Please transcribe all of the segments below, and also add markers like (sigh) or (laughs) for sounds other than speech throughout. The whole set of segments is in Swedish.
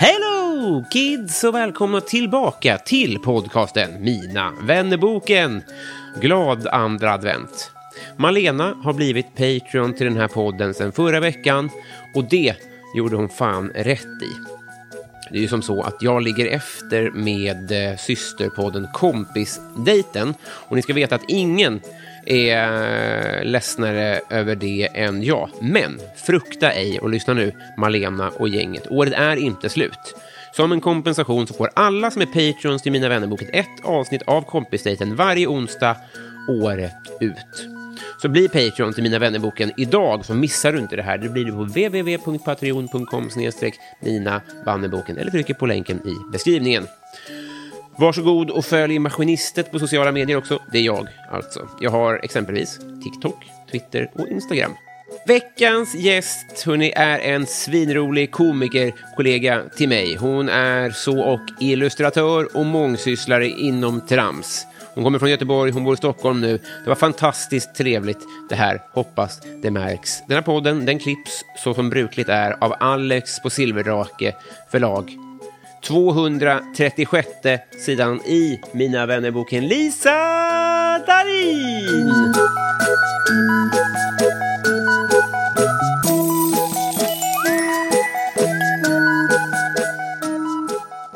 Hello kids och välkomna tillbaka till podcasten Mina vännerboken. Glad andra advent. Malena har blivit Patreon till den här podden sedan förra veckan och det gjorde hon fan rätt i. Det är ju som så att jag ligger efter med eh, systerpodden Kompisdejten. Och ni ska veta att ingen är eh, ledsnare över det än jag. Men frukta ej och lyssna nu, Malena och gänget. Året är inte slut. Som en kompensation så får alla som är Patreons till Mina vännerboken ett avsnitt av Kompisdejten varje onsdag året ut. Så bli Patreon till Mina vännerboken idag så missar du inte det här. Det blir du på www.patreon.com Mina vännerboken eller trycker på länken i beskrivningen. Varsågod och följ Maskinistet på sociala medier också. Det är jag alltså. Jag har exempelvis TikTok, Twitter och Instagram. Veckans gäst hörni, är en svinrolig komiker, kollega till mig. Hon är så och illustratör och mångsysslare inom trams. Hon kommer från Göteborg, hon bor i Stockholm nu. Det var fantastiskt trevligt det här. Hoppas det märks. Den här podden den klipps så som brukligt är av Alex på Silverdrake förlag. 236 sidan i Mina vännerboken Lisa Darin!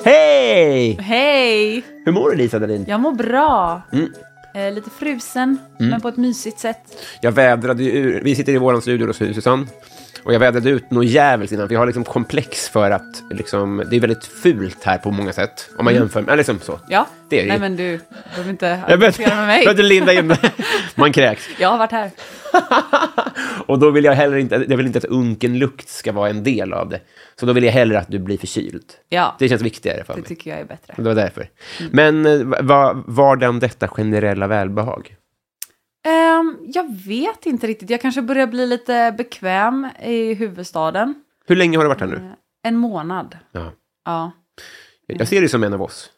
Hej! Hej! Hur mår du Lisa Darin? Jag mår bra. Mm. Eh, lite frusen, men på ett mysigt sätt. Jag vädrade ju ur, vi sitter i våran studio hos Susanne. Och jag vädrade ut något djävulskt innan, för jag har liksom komplex för att liksom, det är väldigt fult här på många sätt. Om man jämför med, ja, liksom så. Ja. Det är det Nej, ju. men du behöver inte (laughs) Jag vet- argumentera med mig. behövde linda in det. Man kräks. (laughs) Jag har varit här. och då vill jag heller inte, jag vill inte att unken lukt ska vara en del av det. Så då vill jag hellre att du blir förkyld. Ja, Det känns viktigare för det mig. tycker jag Mm. är bättre. Det var därför. Men eh, va, var den detta generella välbehag? Ehm, jag vet inte riktigt. Jag kanske börjar bli lite bekväm i huvudstaden. Eh, Hur länge har du varit här nu? En månad. Ja. Ja. Jag ser dig som en av oss.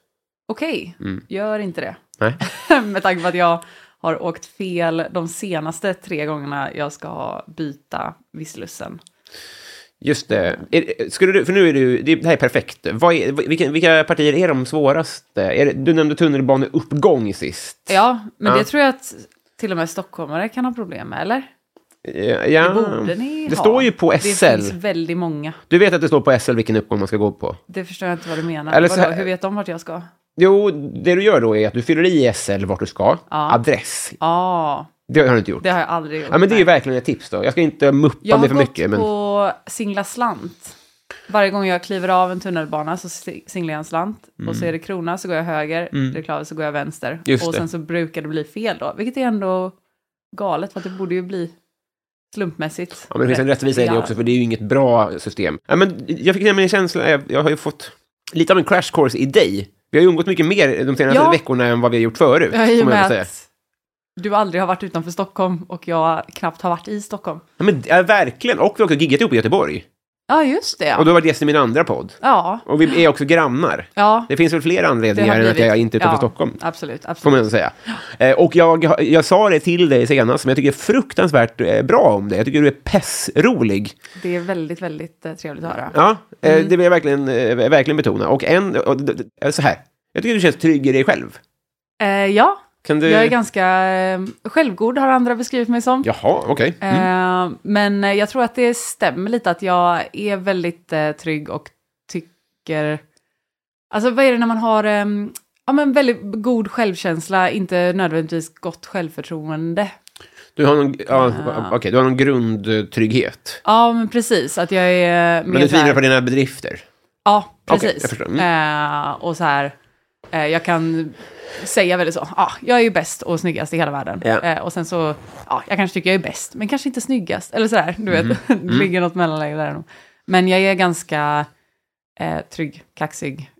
Okej, Mm. gör inte det. Nej. (laughs) med tanke på att jag har åkt fel de senaste tre gångerna jag ska byta visslussen. Just det. Är, skulle du, för nu är du, det det här är perfekt. Vad är, vilka, vilka partier är de svåraste? Är det, du nämnde tunnelbaneuppgång sist. Ja, men Ja. det tror jag att till och med stockholmare kan ha problem med, eller? Eh, Ja, Det borde ni Det ha. står ju på SL. Det finns väldigt många. Du vet att det står på SL vilken uppgång man ska gå på? Det förstår jag inte vad du menar. Eller Eller så här- Hur vet de vart jag ska? Jo, det du gör då är att du fyller i SL vart du ska, Ja. adress. Ja, Det har du inte gjort. det har jag aldrig gjort. Ja, men det är ju Nej. verkligen ett tips då. Jag ska inte muppa jag har mig för gått mycket. Men... på singla slant. Varje gång jag kliver av en tunnelbana så si- singlar jag en slant. Och så är det krona så går jag höger, Mm. mm. reklam så går jag vänster. Just och det. sen så brukar det bli fel då, vilket är ändå galet för att det borde ju bli slumpmässigt. Ja, men det finns en rätt rättvisa i det igen. också, för det är ju inget bra system. Ja, men jag fick nämligen en känsla, jag, jag har ju fått lite av en crash course i dig. Vi har ju umgått mycket mer de senaste Ja. veckorna än vad vi har gjort förut. Ja, i får och man ändå med säga. att du aldrig har varit utanför Stockholm och jag knappt har varit i Stockholm. Ja, men, ja, verkligen. Och vi har också giggat ihop i Göteborg. Ja, just det. Och du har varit gäst i min andra podd. Ja, Och vi är också grannar. ja. Det finns väl fler Det anledningar har än att blivit- jag inte är utanför ja. Stockholm. Absolut, Får absolut. man ändå säga. Eh, Och jag, jag sa det till dig senast, men jag tycker fruktansvärt eh, bra om dig. Jag tycker du är pessrolig. Det är väldigt, väldigt eh, trevligt att höra. Ja, eh, det vill jag verkligen, eh, verkligen betona. Och en, och, d- d- så här, jag tycker du känns trygg i dig själv. Eh, ja, Kan du... jag är ganska eh, självgod har andra beskrivit mig som. Jaha, okej. Mm. Eh, men eh, jag tror att det stämmer lite att jag är väldigt eh, trygg och tycker... Alltså vad är det när man har ehm, ja, men väldigt god självkänsla, inte nödvändigtvis gott självförtroende? Du har någon, ja, Ah. okej, du har någon grundtrygghet. Ja, men precis. Att jag är... mer Men du så här- tvivlar på dina bedrifter. Ja, Okej, precis. jag förstår. Eh, och så här, eh, jag kan säga väldigt så, ja, jag är ju bäst och snyggast i hela världen. Ja. Eh, och sen så, ja, jag kanske tycker jag är bäst, men kanske inte snyggast. Eller så där, du vet, (laughs) det ligger något mellanläge där. nog. Men jag är ganska eh, trygg, kaxig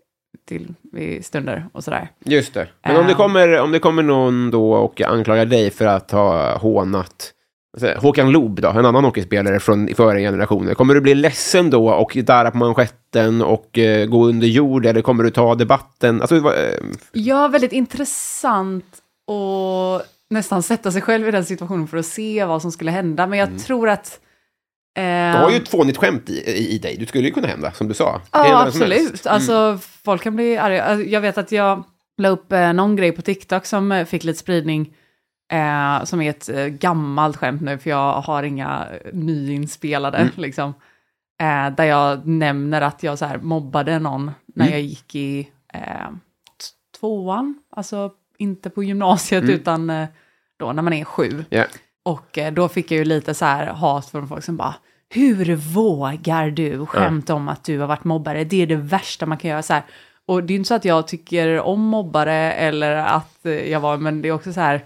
till i stunder och sådär. Just det. Men om, det Ehm. kommer, om det kommer någon då och anklagar dig för att ha hånat alltså, Håkan Loob då, en annan hockeyspelare från förra generationen. Kommer du bli ledsen då och darra på manschetten och eh, gå under jord eller kommer du ta debatten? Alltså, vad, eh, Ja, väldigt intressant och nästan sätta sig själv i den situationen för att se vad som skulle hända. Men jag tror att... eh, du har ju ett fånigt skämt i, i, i dig. Du skulle ju kunna hända, som du sa. Det kan Ja, hända vem som helst. absolut. Alltså, folk kan bli arga. Alltså, Jag vet att jag la upp eh, någon grej på TikTok som eh, fick lite spridning, eh, som är ett eh, gammalt skämt nu, för jag har inga eh, nyinspelade, (laughs) liksom. Eh, där jag nämner att jag så här mobbade någon när jag gick i eh, t- tvåan, alltså inte på gymnasiet, utan eh, då när man är sju. Ja. Och eh, då fick jag ju lite så här hat från folk som bara, hur vågar du skämta om att du har varit mobbare? Det är det värsta man kan göra så här. Och det är inte så att jag tycker om mobbare eller att eh, jag var, men det är också så här,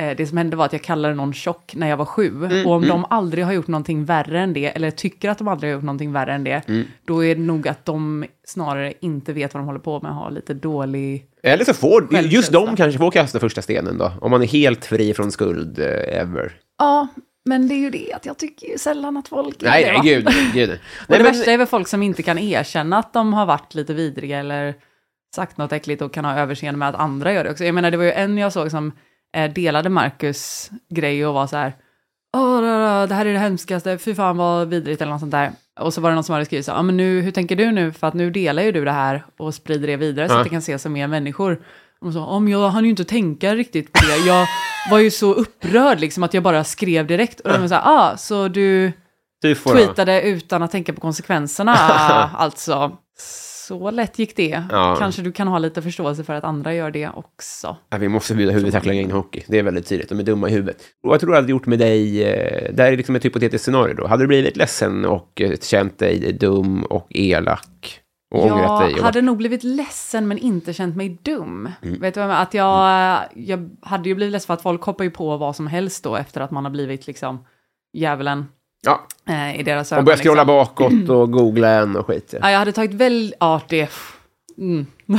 eh, det som hände var att jag kallade någon tjock när jag var sju. Mm, och om de aldrig har gjort någonting värre än det, eller tycker att de aldrig har gjort någonting värre än det, Mm. då är det nog att de snarare inte vet vad de håller på med, har lite dålig... Eller så får just Självkänsla. de kanske får kasta första stenen då, om man är helt fri från skuld eh, ever. Ja, men det är ju det att jag tycker ju sällan att folk är Nej, det, nej, va? gud, gud. Nej, Och men- det värsta är väl folk som inte kan erkänna att de har varit lite vidriga eller sagt något äckligt och kan ha överseende med att andra gör det också. Jag menar, det var ju en jag såg som eh, delade Marcus grej och var så här, Åh, då, då, det här är det hemskaste, fy fan vad vidrigt eller något sånt där. Och så var det någon som hade skrivit så, ja men nu, hur tänker du nu? För att nu delar ju du det här och sprider det vidare så Ja. att det kan ses av mer människor. Och så, om jag hann ju inte tänka riktigt på det. Jag var ju så upprörd liksom att jag bara skrev direkt. Och de var så här, ah, så du Du får tweetade utan att tänka på konsekvenserna, (laughs) alltså. Så lätt gick det. Ja. Kanske du kan ha lite förståelse för att andra gör det också. Ja, vi måste förbjuda huvudtacklingar in i hockey. Det är väldigt tydligt. De är dumma i huvudet. Och vad tror du hade gjort med dig? eh, Det här är liksom ett hypotetiskt scenario då. Hade du blivit ledsen och eh, känt dig dum och elak? Och ångrat dig? Jag Och... hade nog blivit ledsen men inte känt mig dum. Mm. Vet du vad jag menar? Att jag, jag hade ju blivit ledsen för att folk hoppar ju på vad som helst då efter att man har blivit liksom djävulen Ja, eh, i deras ögon. och börjat scrolla liksom. bakåt och googla en och skit. Ja. Ja, jag hade tagit väl... Ja, det... Mm. (laughs)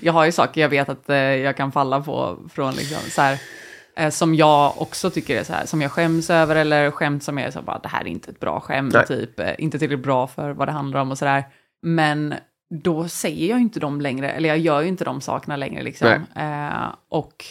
jag har ju saker jag vet att eh, jag kan falla på från liksom så här, eh, som jag också tycker är så här, som jag skäms över eller skämt som är så här, bara, det här är inte ett bra skämt, Nej. typ, eh, inte tillräckligt bra för vad det handlar om och sådär. Men då säger jag ju inte dem längre, eller jag gör ju inte de sakerna längre liksom. Eh, och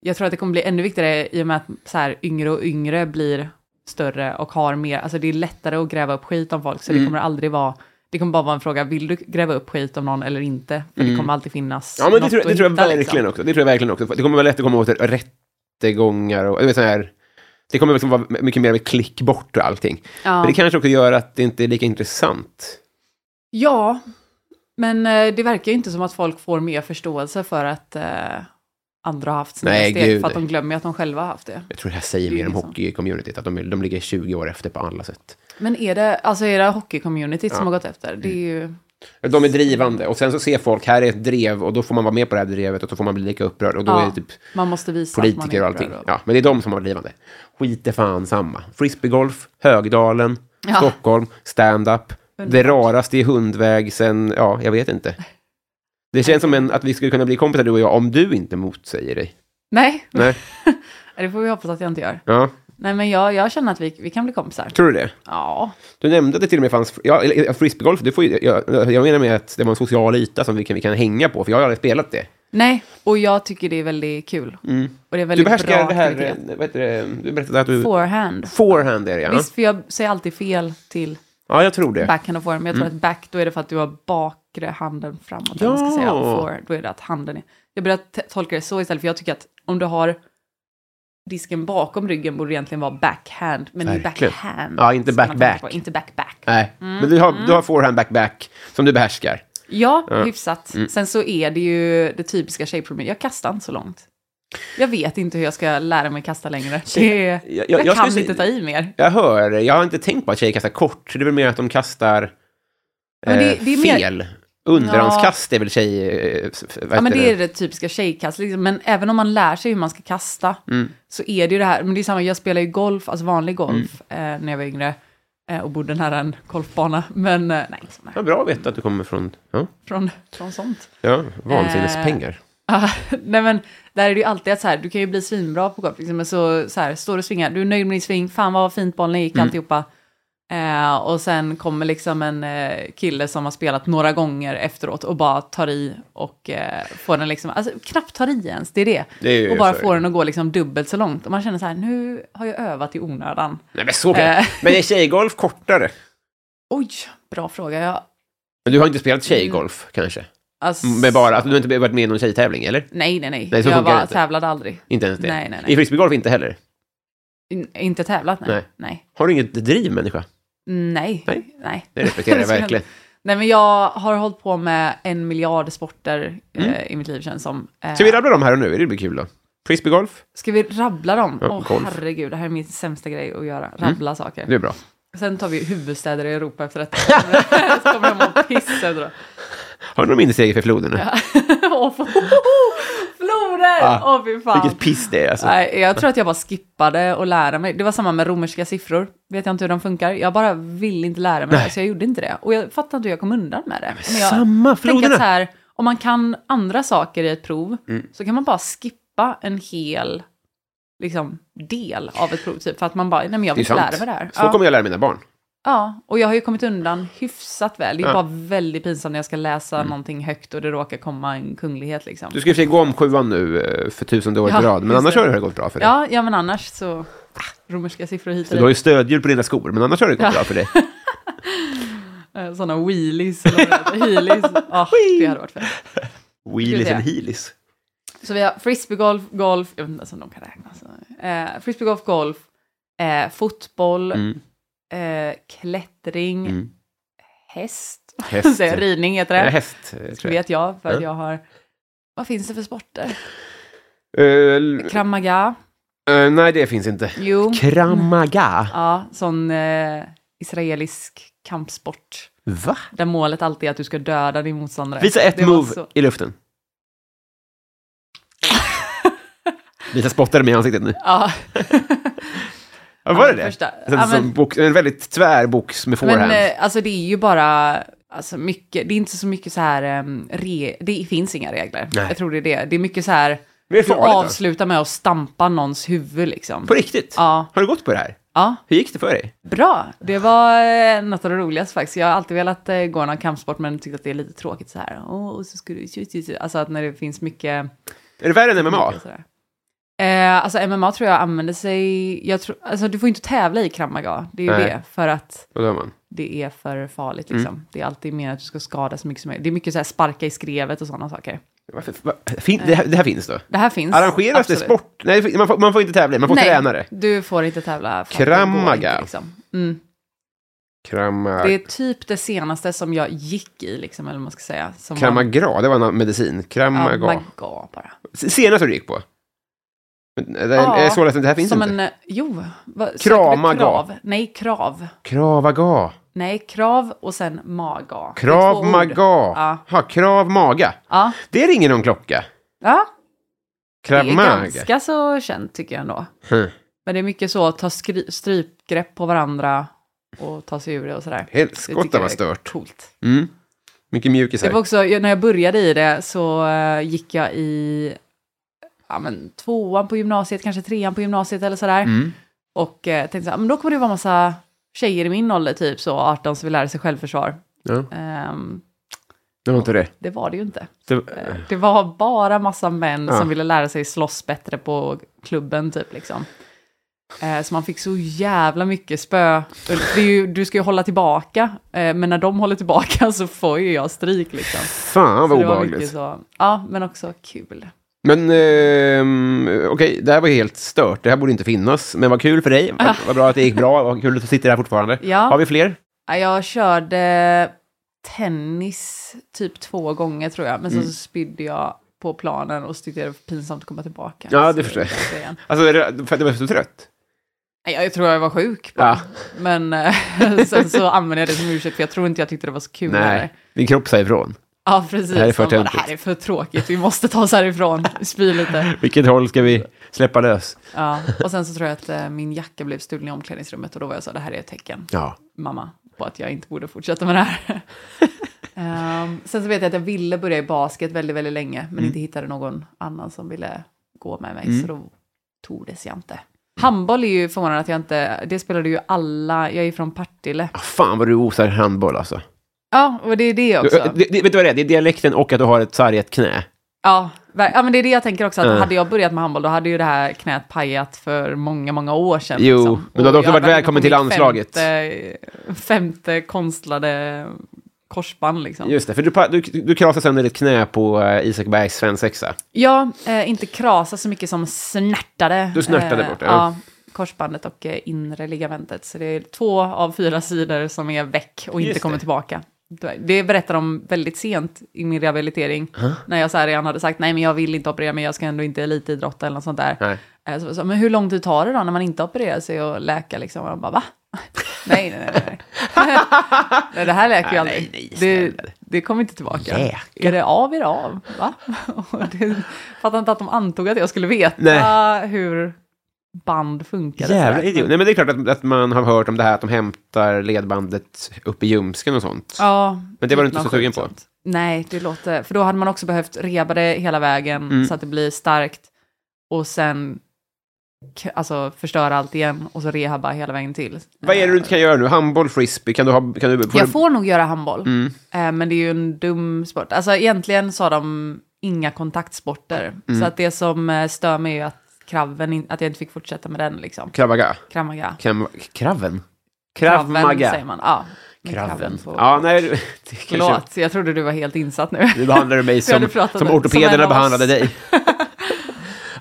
jag tror att det kommer bli ännu viktigare i och med att så här, yngre och yngre blir större och har mer, alltså det är lättare att gräva upp skit om folk, så Mm. det kommer aldrig vara, det kommer bara vara en fråga, vill du gräva upp skit om någon eller inte? För det kommer alltid finnas Mm. Ja, men det något tror, jag- det att tror jag hitta, verkligen liksom. också. Det tror jag verkligen också. Det kommer vara lätt att komma åt rättegångar och du vet, så här. Det kommer liksom vara mycket mer av ett klick bort och allting. Ja. Men det kanske också gör att det inte är lika intressant. Ja, men eh, det verkar ju inte som att folk får mer förståelse för att eh, andra har haft sina Nej, steg, gud. för att de glömmer ju att de själva har haft det. Jag tror det här säger Det är mer om liksom- hockeycommunityt, att de, de ligger 20 år efter på alla sätt. Men är det, alltså är det hockeycommunityt som har gått efter? Det är ju... De är drivande och sen så ser folk, här är ett drev och då får man vara med på det här drevet och då får man bli lika upprörd och då Ja, är det typ man måste visa att man politiker är och allting. upprörd Ja, men det är de som har varit drivande. Skit är fan samma. Frisbeegolf, Högdalen, Ja. Stockholm, stand-up. Det raraste i hundväg sen, ja, jag vet inte. Det känns som en, att vi skulle kunna bli kompisar du och jag om du inte motsäger dig. Nej, (laughs) Nej, det får vi hoppas att jag inte gör. ja, Nej, men jag, jag känner att vi, vi kan bli kompisar. tror du det? Ja, Du nämnde att det till och med fanns, ja, eller, ja, frisbeegolf, det får ju, jag, jag menar med att det var en social yta som vi kan, vi kan hänga på, för jag har aldrig spelat det. nej, och jag tycker det är väldigt kul. Och det är Mm. Du väldigt behärskar bra det här, aktivitet. eh, vad heter det, du berättade att du... Forehand. Forehand är det, ja. Visst, för jag säger alltid fel till Ja, Mm. jag tror det. backhand och forehand, men jag tror att back, då är det för att du har bakre handen framåt. eller vad man Ska Ja. säga. Och forehand, då är det att handen är... Jag börjar t- tolka det så istället, för jag tycker att om du har disken bakom ryggen borde det egentligen vara backhand, men det är Verkligen. backhand. Ja, inte som man tänker back-back. på, Inte back-back. Nej, men du har, du Mm. har forehand back back som du behärskar. Ja, hyfsat. Sen så är det ju det typiska tjejproblemet. Jag kastar inte så långt. Jag vet inte hur jag ska lära mig kasta längre. Det, jag, jag- jag kan skulle- inte ta i mer. Jag hör, jag har inte tänkt på att tjejer kastar kort, det är väl mer att de kastar eh, Men det- det är mer- fel. Underhandskast är väl tjej... Eh, f- f- vad Ja, men heter det är det typiska tjejkast. Liksom. Men även om man lär sig hur man ska kasta så är det ju det här. Men det är samma, jag spelar ju golf, alltså vanlig golf, eh, när jag var yngre eh, och bodde nära en golfbana. Men eh, nej, inte sån här. Ja, bra att veta att du kommer från... Ja, Från, från sånt. ja Eh, vansinnespengar. Ja, (laughs) Nej men, där är det ju alltid att så här, du kan ju bli svinbra på golf, liksom, men så, så här, står du och svingar, du är nöjd med din sving, fan vad fint bollen Mm. gick, alltihopa. Eh, och sen kommer liksom en eh, kille som har spelat några gånger efteråt och bara tar i och eh, får den liksom, alltså knappt tar i ens, det är det. Det är ju och bara så. får den att gå liksom dubbelt så långt. Och man känner så här, nu har jag övat i onödan. Nej, men så kan jag. Eh. Men är tjejgolf kortare? Oj, bra fråga. Jag, Men du har inte Mm. spelat tjejgolf, kanske? alltså, Men bara, alltså, du har inte varit med i någon tjejtävling, eller? Nej, nej, nej. Nej, så jag funkar det bara inte. tävlade aldrig. Inte ens det? Nej, nej, nej. I frisbeegolf inte heller? In, inte tävlat, nej. Nej. Nej. nej. Har du inget driv, människa? Nej. Nej. nej. Det respekterar jag (laughs) verkligen. Nej, men jag har hållit på med en miljard sporter eh, i mitt liv, känns som. Eh, Mm. Ska vi rabbla dem här och nu? Det blir kul då. Frisbeegolf, ska vi rabbla dem? Ja, Mm. Åh, golf. herregud, det här är min sämsta grej att göra. Rabbla saker. det är bra. Sen tar vi huvudstäder i Europa (laughs) efter detta. (laughs) Så kommer de att pissa, tror jag. Har du någon minnesseger för floden? nu? (laughs) Åh, oh, floder! Åh, Ah, fy fan. Vilket piss det är alltså. Nej, jag tror att jag bara skippade att lära mig. Det var samma med romerska siffror. Vet jag inte hur de funkar. Jag bara vill inte lära mig det, så jag gjorde inte det. Och jag fattar inte hur jag kom undan med det. Men jag samma, tänker floderna. Mm. att så här, om man kan andra saker i ett prov, så kan man bara skippa en hel liksom, del av ett prov. Typ, för att man bara, nej men jag det är vill inte lära sant. mig det här. Så kommer jag lära mina barn. Ja, och jag har ju kommit undan hyfsat väl. Det är bara väldigt pinsamt när jag ska läsa någonting högt och det råkar komma en kunglighet liksom. Mm. Du ska i och för sig gå om sjuan nu eh, för tusende året Ja, i rad, men just annars det. har det gått bra för dig. Ja, ja men annars så, ah, romerska siffror hit och Så Du har dit. ju stödhjul på dina skor, men annars har det gått bra för (laughs) dig. Eh, Sådana wheelies, eller vad det heter. heelies. (laughs) Ja, det hade varit fett. Wheelies Ska vi and se. heelies. Så vi har frisbeegolf, golf, jag vet inte ens om de kan räknas. Eh, frisbeegolf, golf, eh, fotboll, Mm. eh, klättring, (laughs) Mm. (laughs) häst, Häst. Säger jag, ridning heter Nej, det. häst, eh, tror jag. vet jag, för att Ja. jag har... Vad finns det för sporter? Öl- Kramaga, eh, nej, det finns inte. jo, Kramaga. ja, sån eh, israelisk kampsport. Va? Där målet alltid är att du ska döda din motståndare. Visa ett Det var move så- i luften. Lisa spottade mig i ansiktet nu. Ja, (laughs) Ja, var Ja, det det det? första. Det Ja, är som men- box, en väldigt tvär box med forehand. Men eh, alltså det är ju bara, alltså mycket, det är inte så mycket så här, em, re, det finns inga regler. Nej. Jag tror det är det. Det är mycket så här, det är du farligt, va? avslutar med att stampa någons huvud liksom. på riktigt? Ja. Har du gått på det här? Ja, Hur gick det för dig? bra. Det var eh, något av det roligaste faktiskt. Jag har alltid velat eh, gå någon kampsport men tyckt att det är lite tråkigt så här. Åh, och så skulle du, alltså att när det finns mycket Är det värre än MMA? och sådär. Eh, alltså MMA tror jag använder sig, jag tror, alltså du får ju inte tävla i kramaga, det är ju Nej. Mm. det, för att Vad gör man? det är för farligt liksom. Det är alltid mer att du ska skada så mycket som möjligt. Det är mycket så här sparka i skrevet och sådana saker. Varför, va, fin, det, här, det här finns då? Det här finns. Arrangeras det absolut. sport? Nej, det fin- man får, man får inte tävla, man får Nej, tränare. du får inte tävla. för att det Kramaga. går inte, Liksom. Mm. Krama, Det är typ det senaste som jag gick i, liksom, eller vad man ska säga. Som kramagra, det var en medicin. var, Kramaga. ja, maga bara. S- Senaste du gick på? Men, eh, det, Ja, är så lätt, det här finns som inte. En, eh, jo, vad, söker du Kramaga. krav? Nej, krav. Kravaga. Nej, krav och sen maga. Det är två Krav ord. maga. Ja. Ha, krav maga. Ja. Det ringer någon klocka. ja, det Krav är maga. ganska så känt tycker jag ändå. Hm. Men det är mycket så, ta skri- strypgrepp på varandra och ta sig ur det och sådär. Helskotta, Det tycker jag vad är stört. Coolt. Mm. Mycket Det mjukisar. var också, jag- när jag började i det så eh, gick jag i ja, men, tvåan på gymnasiet, kanske trean på gymnasiet eller sådär. Och eh, tänkte så här, men då kommer det vara massa tjejer i min ålder, typ så 18, som vill lära sig självförsvar. Ja, Ehm, det var inte det. det var det ju inte. det Det var bara massa män Ja. som ville lära sig slåss bättre på klubben typ liksom. Eh, Så man fick så jävla mycket spö. Det är ju, du ska ju hålla tillbaka, eh, men när de håller tillbaka (laughs) så får ju jag stryk liksom. Fan vad Så det var mycket obehagligt. så, ja, men också kul. Men ehm, okej, det här var helt stört. Det här borde inte finnas. Men vad kul för dig. Vad, vad bra att det gick bra. Vad kul att du sitter här fortfarande. Ja. Har vi fler? Ja, Jag körde tennis typ två gånger tror jag, men Mm. sen så spydde jag på planen och så tyckte jag det var pinsamt att komma tillbaka. Ja, Så det förstår jag. gjorde det igen. Alltså, är det- för att du var så trött? Nej, Jag tror jag var sjuk, bara. Ja. men eh, (laughs) sen så använde jag det som ursäkt för jag tror inte jag tyckte det var så kul. heller. Nej, din kropp säger ifrån. Ja, precis. Det här är för Man bara, det töntigt. här är för tråkigt, vi måste ta oss härifrån, spy lite. Vilket håll ska vi släppa lös? Ja, och sen så tror jag att eh, min jacka blev stulen i omklädningsrummet och då var jag så, det här är ett tecken, Ja. mamma, på att jag inte borde fortsätta med det (laughs) här. Ehm, sen så vet jag att jag ville börja i basket väldigt, väldigt länge, Mm. men inte hittade någon annan som ville gå med mig, så då tordes jag inte. Handboll är ju förvånande att jag inte, det spelade ju alla, jag är ju från Partille. Ah, Fan vad du osar handboll alltså. Ja, och det är det också. Det, det, vet du vad det är? Det är dialekten och att du har ett sargat knä. Ja, ver- ja, men det är det jag tänker också. Att Mm. Hade jag börjat med handboll, då hade ju det här knät pajat för många, många år sedan. liksom. Jo, men du hade Och också jag varit var inne välkommen på till mitt landslaget. Femte, femte konstlade korsband liksom. Just det, för du, pa- du, du krasade sönder ditt knä på eh, Isak Bergs svensexa. Ja, eh, inte krasa så mycket som snärtade. Eh, Du snärtade bort det, ja. Ja. korsbandet och eh, inre ligamentet. Så det är två av fyra sidor som är väck och inte Just kommer det. tillbaka. Det berättar de väldigt sent i min rehabilitering. När jag så här redan hade sagt nej men jag vill inte operera men jag ska ändå inte elitidrotta eller något sånt där. Nej. Eh, Så, så, men hur lång tid tar det då när man inte opererar sig och läka liksom? Och de bara va? (laughs) nej, nej, nej, nej. (laughs) nej det här läker ju aldrig. nej, det, det kommer inte tillbaka. Läka. Är det av är det av. Va? (laughs) Och det, fattar inte att de antog att jag skulle veta Nej. hur band funkade. Jävla sådär. idiot. Nej men det är klart att, att man har hört om det här att de hämtar ledbandet upp i ljumsken och sånt. Ja, Men det var du typ inte så något sugen sjukt på? sånt. Nej, det låter... För då hade man också behövt reba det hela vägen Mm. så att det blir starkt och sen k- alltså, förstöra allt igen och så rehabba hela vägen till. Vad är det du inte kan göra nu? Handboll, frisbee? Kan du ha... Kan du, Jag du- får nog göra handboll, Mm. eh, men det är ju en dum sport. Alltså egentligen sa de inga kontaktsporter, Mm. så att det som eh, stör mig är ju att kraven, in, att jag inte fick fortsätta med den liksom. Kravaga? Kramaga. Kram, kraven? säger Kravmaga? man. Ja, med Kraven. på- Ja, nej. (laughs) det- det kanske- Förlåt, jag trodde du var helt (laughs) insatt nu. Nu behandlar (laughs) du mig Jag hade som, pratat som om- som en ortopederna av oss. behandlade dig.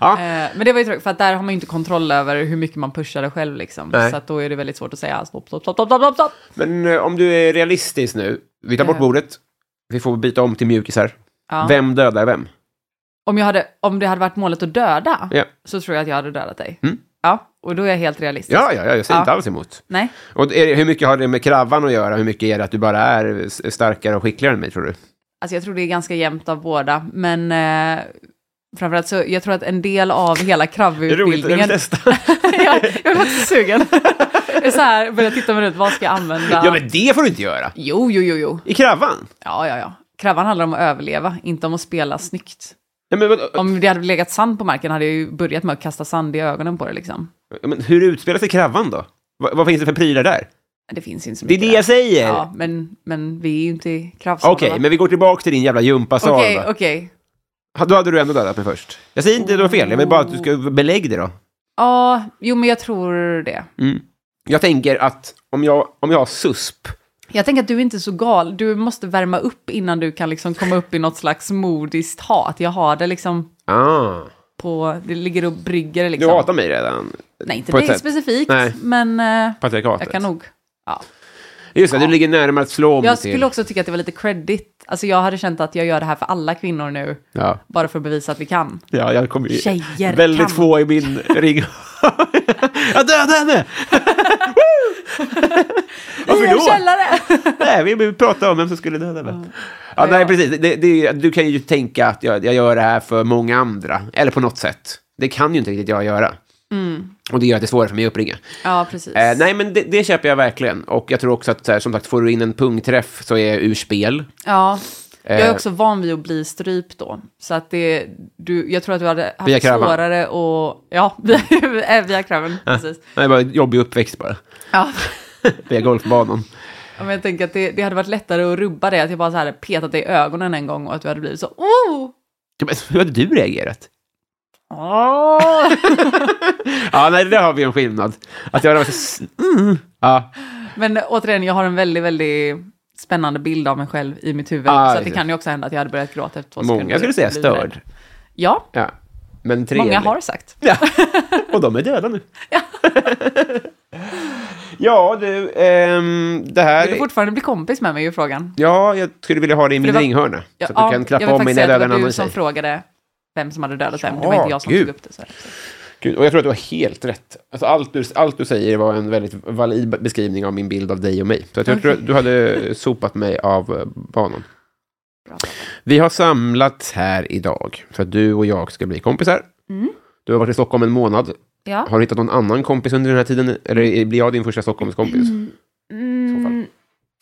Eh, Men det var ju tråkigt, för att där har man ju inte kontroll över hur mycket man pushar det själv liksom. Nej. Så att då är det väldigt svårt att säga stopp, stopp, stopp, stopp, stopp, stopp. Men eh, om du är realistisk nu, vi tar bort Ja. bordet, vi får byta om till mjukisar. Ja. Vem dödar vem? Om, jag hade, om det hade varit målet att döda, Ja. så tror jag att jag hade dödat dig. Mm. Ja, och då är jag helt realistisk. Ja, ja, ja jag säger Ja. inte alls emot. Nej, Och är, det- hur mycket har det med kravan att göra? Hur mycket är det att du bara är s- starkare och skickligare än mig, tror du? alltså jag tror det är ganska jämnt av båda, men eh, framförallt så, jag tror att en del av hela krabbutbildningen... testa. jag, (laughs) jag är faktiskt sugen. (laughs) jag är så här, börjar titta mig runt, vad ska jag använda? Ja, men det får du inte göra! Jo, jo, jo, jo. I kravan? Ja, ja, ja. Krabban handlar om att överleva, inte om att spela snyggt. Nej, men, vad- Om det hade legat sand på marken hade jag ju börjat med att kasta sand i ögonen på det liksom. men hur utspelar sig kravan då? Vad, vad finns det för prylar där? Men Det finns ju inte så Det är mycket. det jag säger! Ja, men, men vi är ju inte i kravsalen. Okej, men vi går tillbaka till din jävla gympasal. Okej, då. okej. Då hade du ändå dödat mig först. Jag säger inte att det var fel, jag vill bara att du ska belägga det då. Ja, jo men jag tror det. Jag tänker att om jag, om jag har susp, Jag tänker att du är inte så gal. Du måste värma upp innan du kan liksom komma upp i något slags modiskt hat. Jag har det liksom ah, på... Det ligger och brygger det du liksom. hatar mig redan. Nej, inte på ett dig sätt. specifikt, Nej. men eh, Patriarkatet. jag kan nog... Ja. Just det, du ligger närmare att slå om Jag till. skulle också tycka att det var lite credit. Alltså jag hade känt att jag gör det här för alla kvinnor nu, Ja, bara för att bevisa att vi kan. ja jag kommer ju... Tjejer väldigt kan. få i min ring. (laughs) jag dödade (laughs) henne! Varför I en då? (laughs) källare! nej, vi vi pratade om vem som skulle döda mig. Ja, nej, precis. Det, det, du kan ju tänka att jag, jag gör det här för många andra, eller på något sätt. Det kan ju inte riktigt jag göra. Och det gör att det är svårare för mig att uppringa. Mm. Ja, precis. Eh, nej, men det, det köper jag verkligen. Och jag tror också att, så här, som sagt, får du in en pungträff så är jag ur spel. Ja. Jag Eh. är också van vid att bli strypt då. Så att det, du, jag tror att du hade haft Via kraven. svårare och... Ja, (laughs) via, eh, via kraven. Precis. Det var en jobbig uppväxt bara. Ja. Via golfbanan. Ja, Men jag tänker att det, det hade varit lättare att rubba det, att jag bara så här petat dig i ögonen en gång och att du hade blivit så... Oh! Ja, men Hur hade du reagerat? Åh! Ja, nej, där har vi en skillnad. Att jag var så... s- Mm. Ja, (laughs) Men återigen, jag har en väldigt, väldigt spännande bild av mig själv i mitt huvud. Ah, så att det just. kan ju också hända att jag hade börjat gråta efter två sekunder. många skulle säga Blivit rädd. störd. Ja, Ja, men trevlig. många har sagt. Ja. Och de är döda (laughs) nu. Ja, du, ehm, det Vill du här... fortfarande bli kompis med mig är ju frågan. Ja, jag skulle vilja ha det i min det var- ringhörna. Ja, så att du kan klappa om mig när jag dödar Jag vill en faktiskt säga att det var annan du som tjej. frågade vem som hade dödat vem. Det Ja, var inte jag som gud. tog upp det. Så här. Gud, och jag tror att du har helt rätt. Alltså, allt, du, allt du säger var en väldigt valid beskrivning av min bild av dig och mig. Så att jag tror att du hade sopat mig av eh, banan. Bra. Vi har samlats här idag för att du och jag ska bli kompisar. Mm. Du har varit i Stockholm en månad. Ja. Har du hittat någon annan kompis under den här tiden? Eller blir jag din första Stockholmskompis? i så Mm,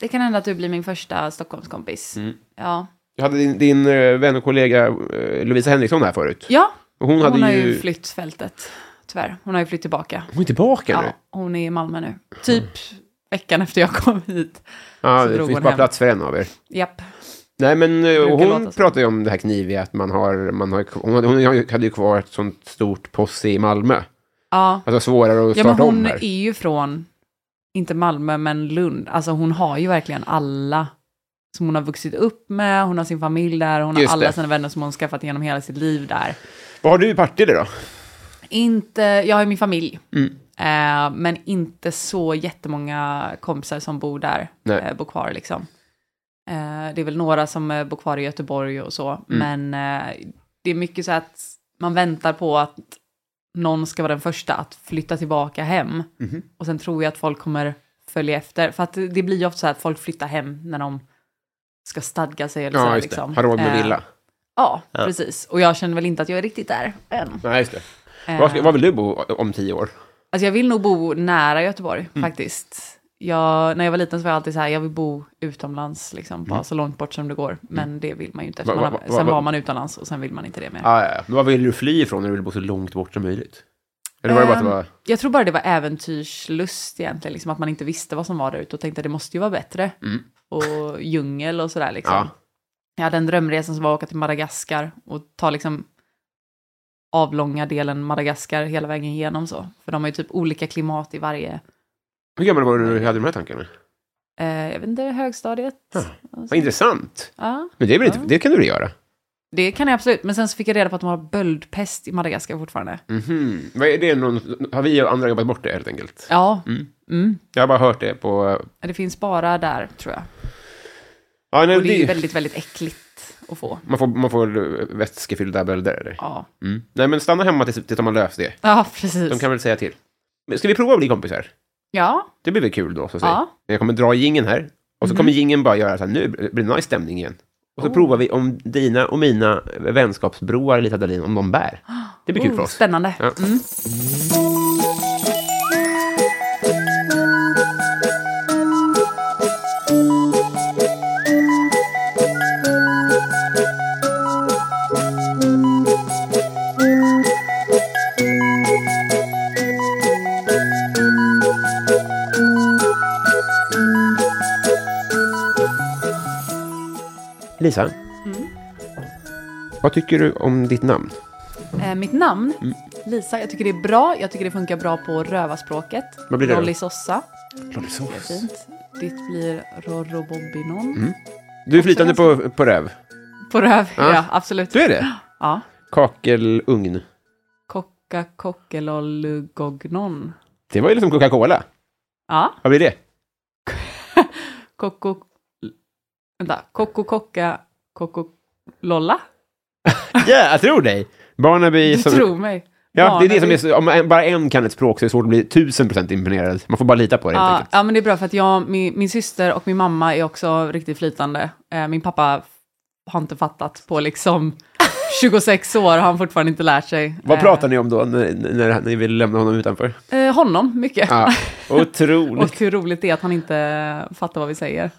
det kan hända att du blir min första Stockholmskompis. Mm. Ja. Jag hade din, din eh, vän och kollega eh, Lovisa Henriksson här förut. ja, Och hon hon, hade har ju... ju flytt fältet. Tyvärr, hon har ju flytt tillbaka. Hon är tillbaka nu. Ja, hon är i Malmö nu. Typ Mm. veckan efter jag kom hit. Ja, Så det drog finns hon bara hem. plats för en av er. Japp. Nej, men eh, och Brukar hon låta så. pratade ju om det här kniviga, att man har, man har, hon, hade, hon hade ju kvar ett sånt stort posse i Malmö. Ja. Alltså svårare att ja, men starta om hon här. är ju från, inte Malmö, men Lund. Alltså hon har ju verkligen alla som hon har vuxit upp med, hon har sin familj där, hon har Just alla det. sina vänner som hon skaffat genom hela sitt liv där. Vad har du i Partille då? Inte, jag har ju min familj, Mm. eh, men inte så jättemånga kompisar som bor där, Nej. eh, bor kvar liksom. Eh, det är väl några som eh, bor kvar i Göteborg och Mm. så, men eh, det är mycket så att man väntar på att någon ska vara den första att flytta tillbaka hem. Mhm. Och sen tror jag att folk kommer följa efter, för att det det blir ju ofta så här att folk flyttar hem när de ska stadga sig eller så. Ja, här, just det. liksom. Har råd med Eh, villa. Ja, precis. Och jag känner väl inte att jag är riktigt där än. Nej, just det. Eh, Var, ska, var vill du bo om tio år? Alltså jag vill nog bo nära Göteborg Mm. faktiskt. Jag, när jag var liten så var jag alltid så här, jag vill bo utomlands, liksom, bara så långt bort som det går. Men det vill man ju inte, eftersom Mm. Va- va- man va- har, sen va- var man utomlands och sen vill man inte det mer. Ah, ja, ja. Men vad vill du fly ifrån när du vill bo så långt bort som möjligt? Eller var det bara att det Ehm, var... Jag tror bara det var äventyrslust egentligen, liksom, att man inte visste vad som var där ute och tänkte det måste ju vara bättre. Mm. Och djungel och sådär liksom. Ja. Jag hade en drömresa som var att åka till Madagaskar och ta liksom avlånga delen Madagaskar hela vägen igenom så. För de har ju typ olika klimat i varje Hur gammal var du när du hade de här tankarna? Eh, jag vet inte, högstadiet. Ja, Och så. Vad intressant! Ja, Men det, är väl inte, Ja. det kan du väl göra? det kan jag absolut. Men sen så fick jag reda på att de har böldpest i Madagaskar fortfarande. Mhm. Vad är det någon, har vi och andra jobbat bort det helt enkelt? Ja, Mm. mm. Jag har bara hört det på... det finns bara där tror jag. Ja, nej, Och det är ju det, väldigt, väldigt äckligt att få. man, får, man får vätskefyllda bölder, eller? Ja, Mm. Nej, men stanna hemma tills, tills de har löst det. ja De precis. kan väl säga till. Men ska vi prova att bli kompisar? Ja, Det blir väl kul då, så att säga. ja. Mhm. Jag kommer dra jingeln här. Och så kommer jingeln bara göra så här, nu blir det nice stämning igen. Och så Oh. provar vi om dina och mina vänskapsbroar, Lita Dahlin, om de bär. Det blir kul för Oh, oss. spännande. Ja. Mm. Lisa, Mm. vad tycker du om ditt namn? Eh, mitt namn, Mm. Lisa, jag tycker det är bra. Jag tycker det funkar bra på rövarspråket. Vad blir det då? Lolly Sossa, det är Lollisås. fint. Ditt blir Rorro Bobbinon. Mm. Du är flytande på, på röv. På röv, Ja. ja, absolut. Du är det? Ja. Kakelugn. Kocka kockelollugognon. Det var ju liksom Coca-Cola. Ja. Vad blir (laughs) det? Koko... Vänta. Koko kocka... Koko lolla? Ja, jag tror dig! Barnaby Du som... tror mig. Ja, det är det Barnaby. som är så, om en- bara en kan ett språk så är det svårt att bli tusen procent imponerad. Man får bara lita på det helt Ja, enkelt. ja, men det är bra för att jag, min, min syster och min mamma är också riktigt flytande. Eh, Min pappa har inte fattat (laughs) på liksom 26 år har han fortfarande inte lärt sig. Vad pratar ni om då när, när ni vill lämna honom utanför? Eh, Honom, mycket. Ja, (laughs) otroligt. Och hur roligt det är att han inte fattar vad vi säger.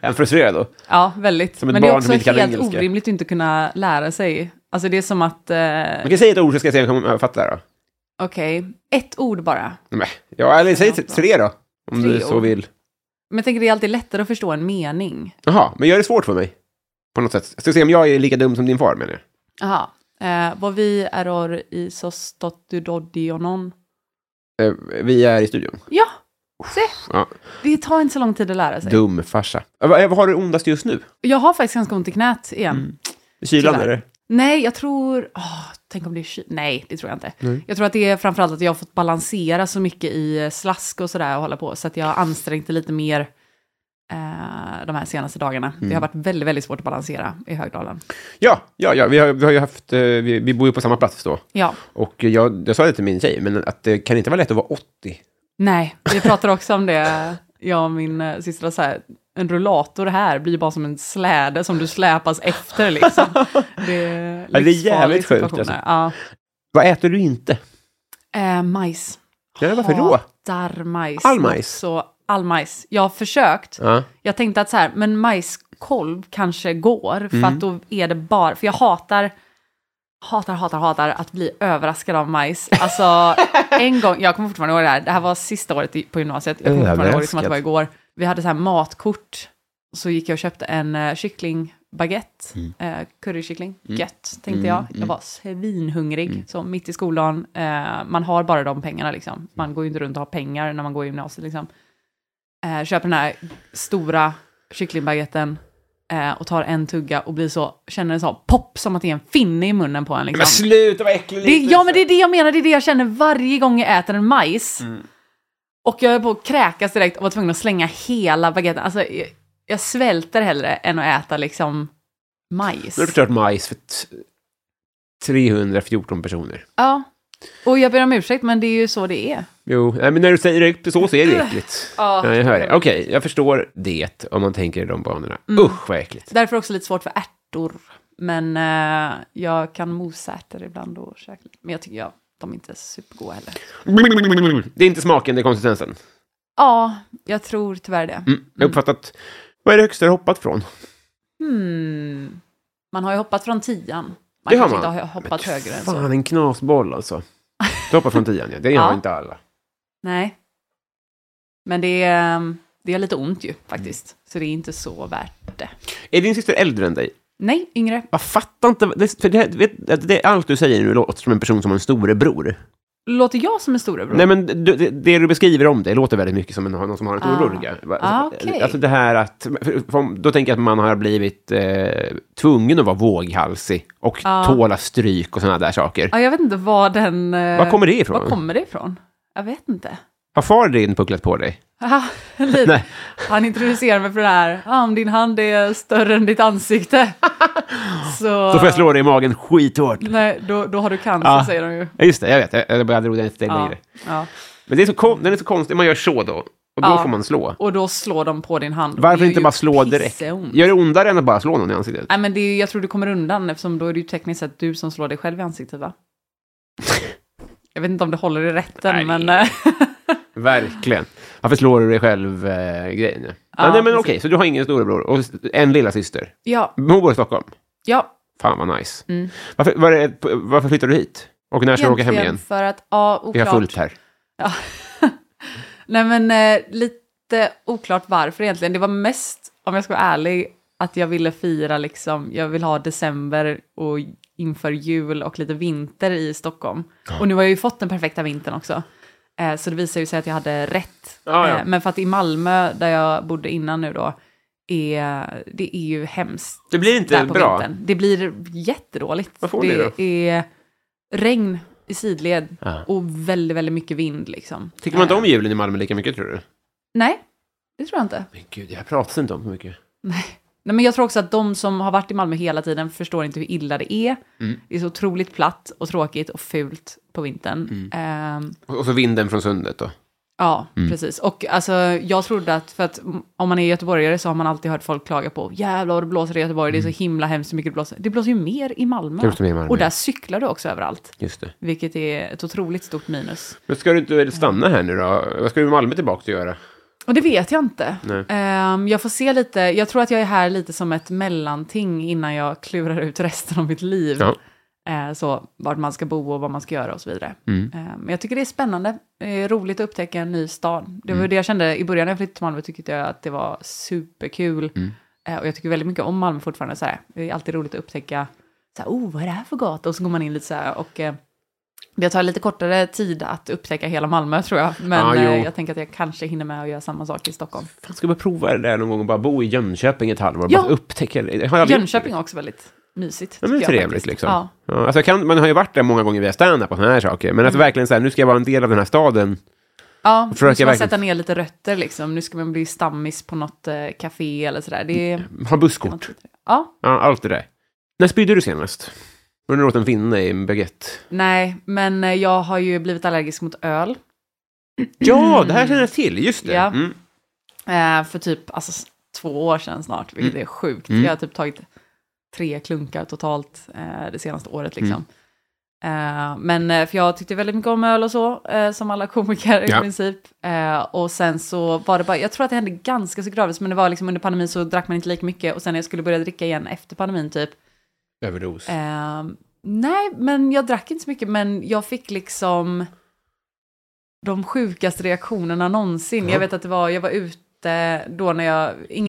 Är han frustrerad då? Ja, väldigt. Som ett Men det är barn som också inte kan helt engelska. orimligt att inte kunna lära sig. Alltså det är som att, eh, Man kan säga ett ord så ska jag se om jag fattar då. okej, ett ord bara. Nej, ja, eller säg t- tre då. Om Tre du så ord. vill. Men jag tänker det är alltid lättare att förstå en mening. Jaha, men gör det svårt för mig. På något sätt. Jag ska se om jag är lika dum som din far menar jag. Jaha. Eh, vad vi är i sostotudodionon. Eh, vi är i studion. Ja, se. Ja. Det tar inte så lång tid att lära sig. Dum farsa. Eh, Vad eh, vad har du ondast just nu? Jag har faktiskt ganska ont i knät igen. Mm. I kylan Tyvärr. eller? Nej, jag tror... åh, tänk om det är ky- Nej, det tror jag inte. Jag tror att det är framförallt att jag har fått balansera så mycket i eh, slask och sådär och hålla på. Så att jag har ansträngt det lite mer eh, de här senaste dagarna. Det har varit väldigt, väldigt svårt att balansera i Högdalen. Ja, ja, ja vi, har, vi har ju haft, eh, vi, vi bor ju på samma plats då. Ja, Och jag, jag sa det till min tjej, men att det kan inte vara lätt att vara 80. nej, vi pratade också om det, jag och min eh, syster, så här, en rullator här blir ju bara som en släde som du släpas efter liksom. Det är, Ja, det är livsfarlig jävligt sjukt, situation alltså. där. Ja. Vad äter du inte? Eh, majs. Ja, varför då? Hatar majs. All majs? Så, all majs. Jag har försökt. Ja. Jag tänkte att så här, men majskolv kanske går, för att då är det bara, för jag hatar, hatar, hatar, hatar att bli överraskad av majs. Alltså, en gång, jag kommer fortfarande ihåg det här, det här var sista året i- på gymnasiet, jag kommer fortfarande ihåg det som att det var igår. Vi hade så här matkort, så gick jag och köpte en uh, kycklingbaguette, eh, currykyckling, gött, tänkte jag. Jag var svinhungrig, så mitt i skolan, eh, man har bara de pengarna liksom. Man går ju inte runt och har pengar när man går i gymnasiet liksom eh, köper den här stora kycklingbaguetten eh, och tar en tugga och blir så, känner en sån pop som att det är en finne i munnen på en. Men Liksom. sluta vad äcklig Det, ja men det är det jag menar, det är det jag känner varje gång jag äter en majs. Mm. Och jag är på att kräkas direkt och var tvungen att slänga hela baguetten. Alltså, jag, jag svälter hellre än att äta liksom majs. Nu har du förstört majs för t- 314 personer. Ja. Och jag ber om ursäkt men det är ju så det är. Jo, nej, men när du säger det så, så är det äckligt. Ja. Ja, jag hör det. Okej, jag förstår det om man tänker i de banorna. Mm. Usch, vad äckligt. Därför också lite svårt för ärtor. Men eh, jag kan mosa ärtor ibland och käka lite. Men jag tycker jag, de är inte supergoda heller. Det är inte smaken, det är konsistensen. Ja, jag tror tyvärr det. Mm. Jag har uppfattat... Vad är det högsta du har hoppat från? Hmm. Man har ju hoppat från tian. Man Det har kanske man. inte har hoppat högre än så. Fan, en knasboll alltså. Du hoppar från tian, ja. Det har Ja. inte alla. Nej. Men det är, ehm, det är lite ont ju faktiskt. Mm. Så det är inte så värt det. Är din syster äldre än dig? Nej, yngre. Jag fattar inte. Det, för det, vet, att det, allt du säger nu låter som en person som har en storebror. Låter jag som en storebror? Nej, men du, det, det du beskriver om det låter väldigt mycket som en, någon som har en Ah. storebror. tycker jag. Va- Ah, okej. Alltså det här att... för- för- Då tänker jag att man har blivit eh, tvungen att vara våghalsig och Ah. tåla stryk och sådana där saker. Ja, jag vet inte var den... eh, Var kommer det ifrån? Var kommer det ifrån? Jag vet inte. Har far din pucklat på dig? Haha, (laughs) lite. Nej. Typ. Han introducerar mig för det här. Ah, om din hand är större än ditt ansikte. (laughs) Så, Då får jag slå dig i magen skithårt. Nej, då, då har du cancer Ja. säger de ju. Ja, just det, jag vet. Jag, jag bara drog den ett steg Ja, längre. ja. Men det är så, kon- den är så konstig, man gör så då. Och då Ja. får man slå. Och då slår de på din hand. Varför Det är inte ju bara slå direkt? pisseont. Gör det ondare än att bara slå någon i ansiktet? Nej, men det är, ju- jag tror du kommer undan eftersom då är det ju tekniskt sett du som slår dig själv i (laughs) ansiktet va? Jag vet inte om det håller i rätten Nej. men... eh, (laughs) Verkligen. Varför slår du dig själv eh, grejen? Ja, Ja, nej, men precis. okej, så du har ingen storebror och s- en lilla syster. ja, Men Hon bor i Stockholm. ja. Fan vad nice. Mm. Varför, var det, varför flyttar du hit? Och när ska du åka hem igen? För att, ja, Vi har oklart. fullt här. Nej men eh, lite oklart varför egentligen. Det var mest, om jag ska vara ärlig, att jag ville fira liksom, jag vill ha december och inför jul och lite vinter i Stockholm. Och nu har jag ju fått den perfekta vintern också. Eh, så det visar ju sig att jag hade rätt. Ja, ja. Eh, men för att i Malmö, där jag bodde innan nu då, är, det är ju hemskt Det blir där på vintern. Det blir jättedåligt. Varför blir det det då? är regn i sidled Ja. och väldigt, väldigt mycket vind liksom. Tycker man inte om julen i Malmö lika mycket, tror du? Nej, det tror jag inte. Men gud, jag pratar inte om så mycket. Nej, men jag tror också att de som har varit i Malmö hela tiden förstår inte hur illa det är. Mm. Det är så otroligt platt och tråkigt och fult på Mm. vintern. Ehm, Och och så vinden från sundet då. ja, Mm. precis. Och alltså, jag trodde att, för att m- om man är göteborgare så har man alltid hört folk klaga på jävlar vad det blåser i Göteborg, det är så himla hemskt hur mycket det blåser. Det blåser ju mer i Malmö. Mm. Det blåser mer i Malmö, Och där ja. cyklar du också överallt, Just det. vilket är ett otroligt stort minus. Men ska du inte stanna här nu då? Vad ska du i Malmö tillbaka till göra? Och det vet jag inte. Nej. Ehm, jag får se lite, jag tror att jag är här lite som ett mellanting innan jag klurar ut resten av mitt liv. Ja. Eh, så vart man ska bo och vad man ska göra och så vidare. Mm. Eh, men jag tycker det är spännande, eh, roligt att upptäcka en ny stad. Det var Mm. ju det jag kände i början när jag flyttade till Malmö, tyckte jag att det var Mm. superkul. Eh, och jag tycker väldigt mycket om Malmö fortfarande. Så här. Det är alltid roligt att upptäcka så här, oh, vad är det här för gata? Och så går man in lite så här och eh, det tar lite kortare tid att upptäcka hela Malmö tror jag. Men Ja, Ah, jo. eh, jag tänker att jag kanske hinner med att göra samma sak i Stockholm. Fan, ska vi prova det där någon gång och bara bo i Jönköping ett halvår? Ja. Bara upptäcka det. det. Har jag Jönköping är också väldigt mysigt. Ja, men tycker jag trevligt faktiskt. liksom. Ja. Ja. alltså jag kan, man har ju varit där många gånger via stand-up och såna här saker. Men Mm. att verkligen så här, nu ska jag vara en del av den här staden. Ja, nu ska Försöker man verkligen- sätta ner lite rötter liksom. Nu ska man bli stammis på något eh, café eller sådär. Det är... Ha busskort. Ja, Ja, allt det där. När spydde du senast? Var det åt en finne i en baguette? nej, men eh, jag har ju blivit allergisk mot öl. Ja, det här känner jag till. Just det. Mm. Ja. Mm. Eh, för typ alltså, s- två år sedan snart, vilket Mm. är sjukt. Jag har typ tagit tre klunkar totalt eh, det senaste året Mm. liksom. Eh, men eh, för jag tyckte väldigt mycket om öl och så, eh, som alla komiker Ja. i princip. Eh, och sen så var det bara, jag tror att det hände ganska så gradvis, men det var liksom under pandemin så drack man inte lika mycket och sen när jag skulle börja dricka igen efter pandemin typ, Överdos. Eh, nej, men jag drack inte så mycket, men jag fick liksom de sjukaste reaktionerna någonsin. Jag vet att det var, jag var ute då när jag, ingen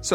So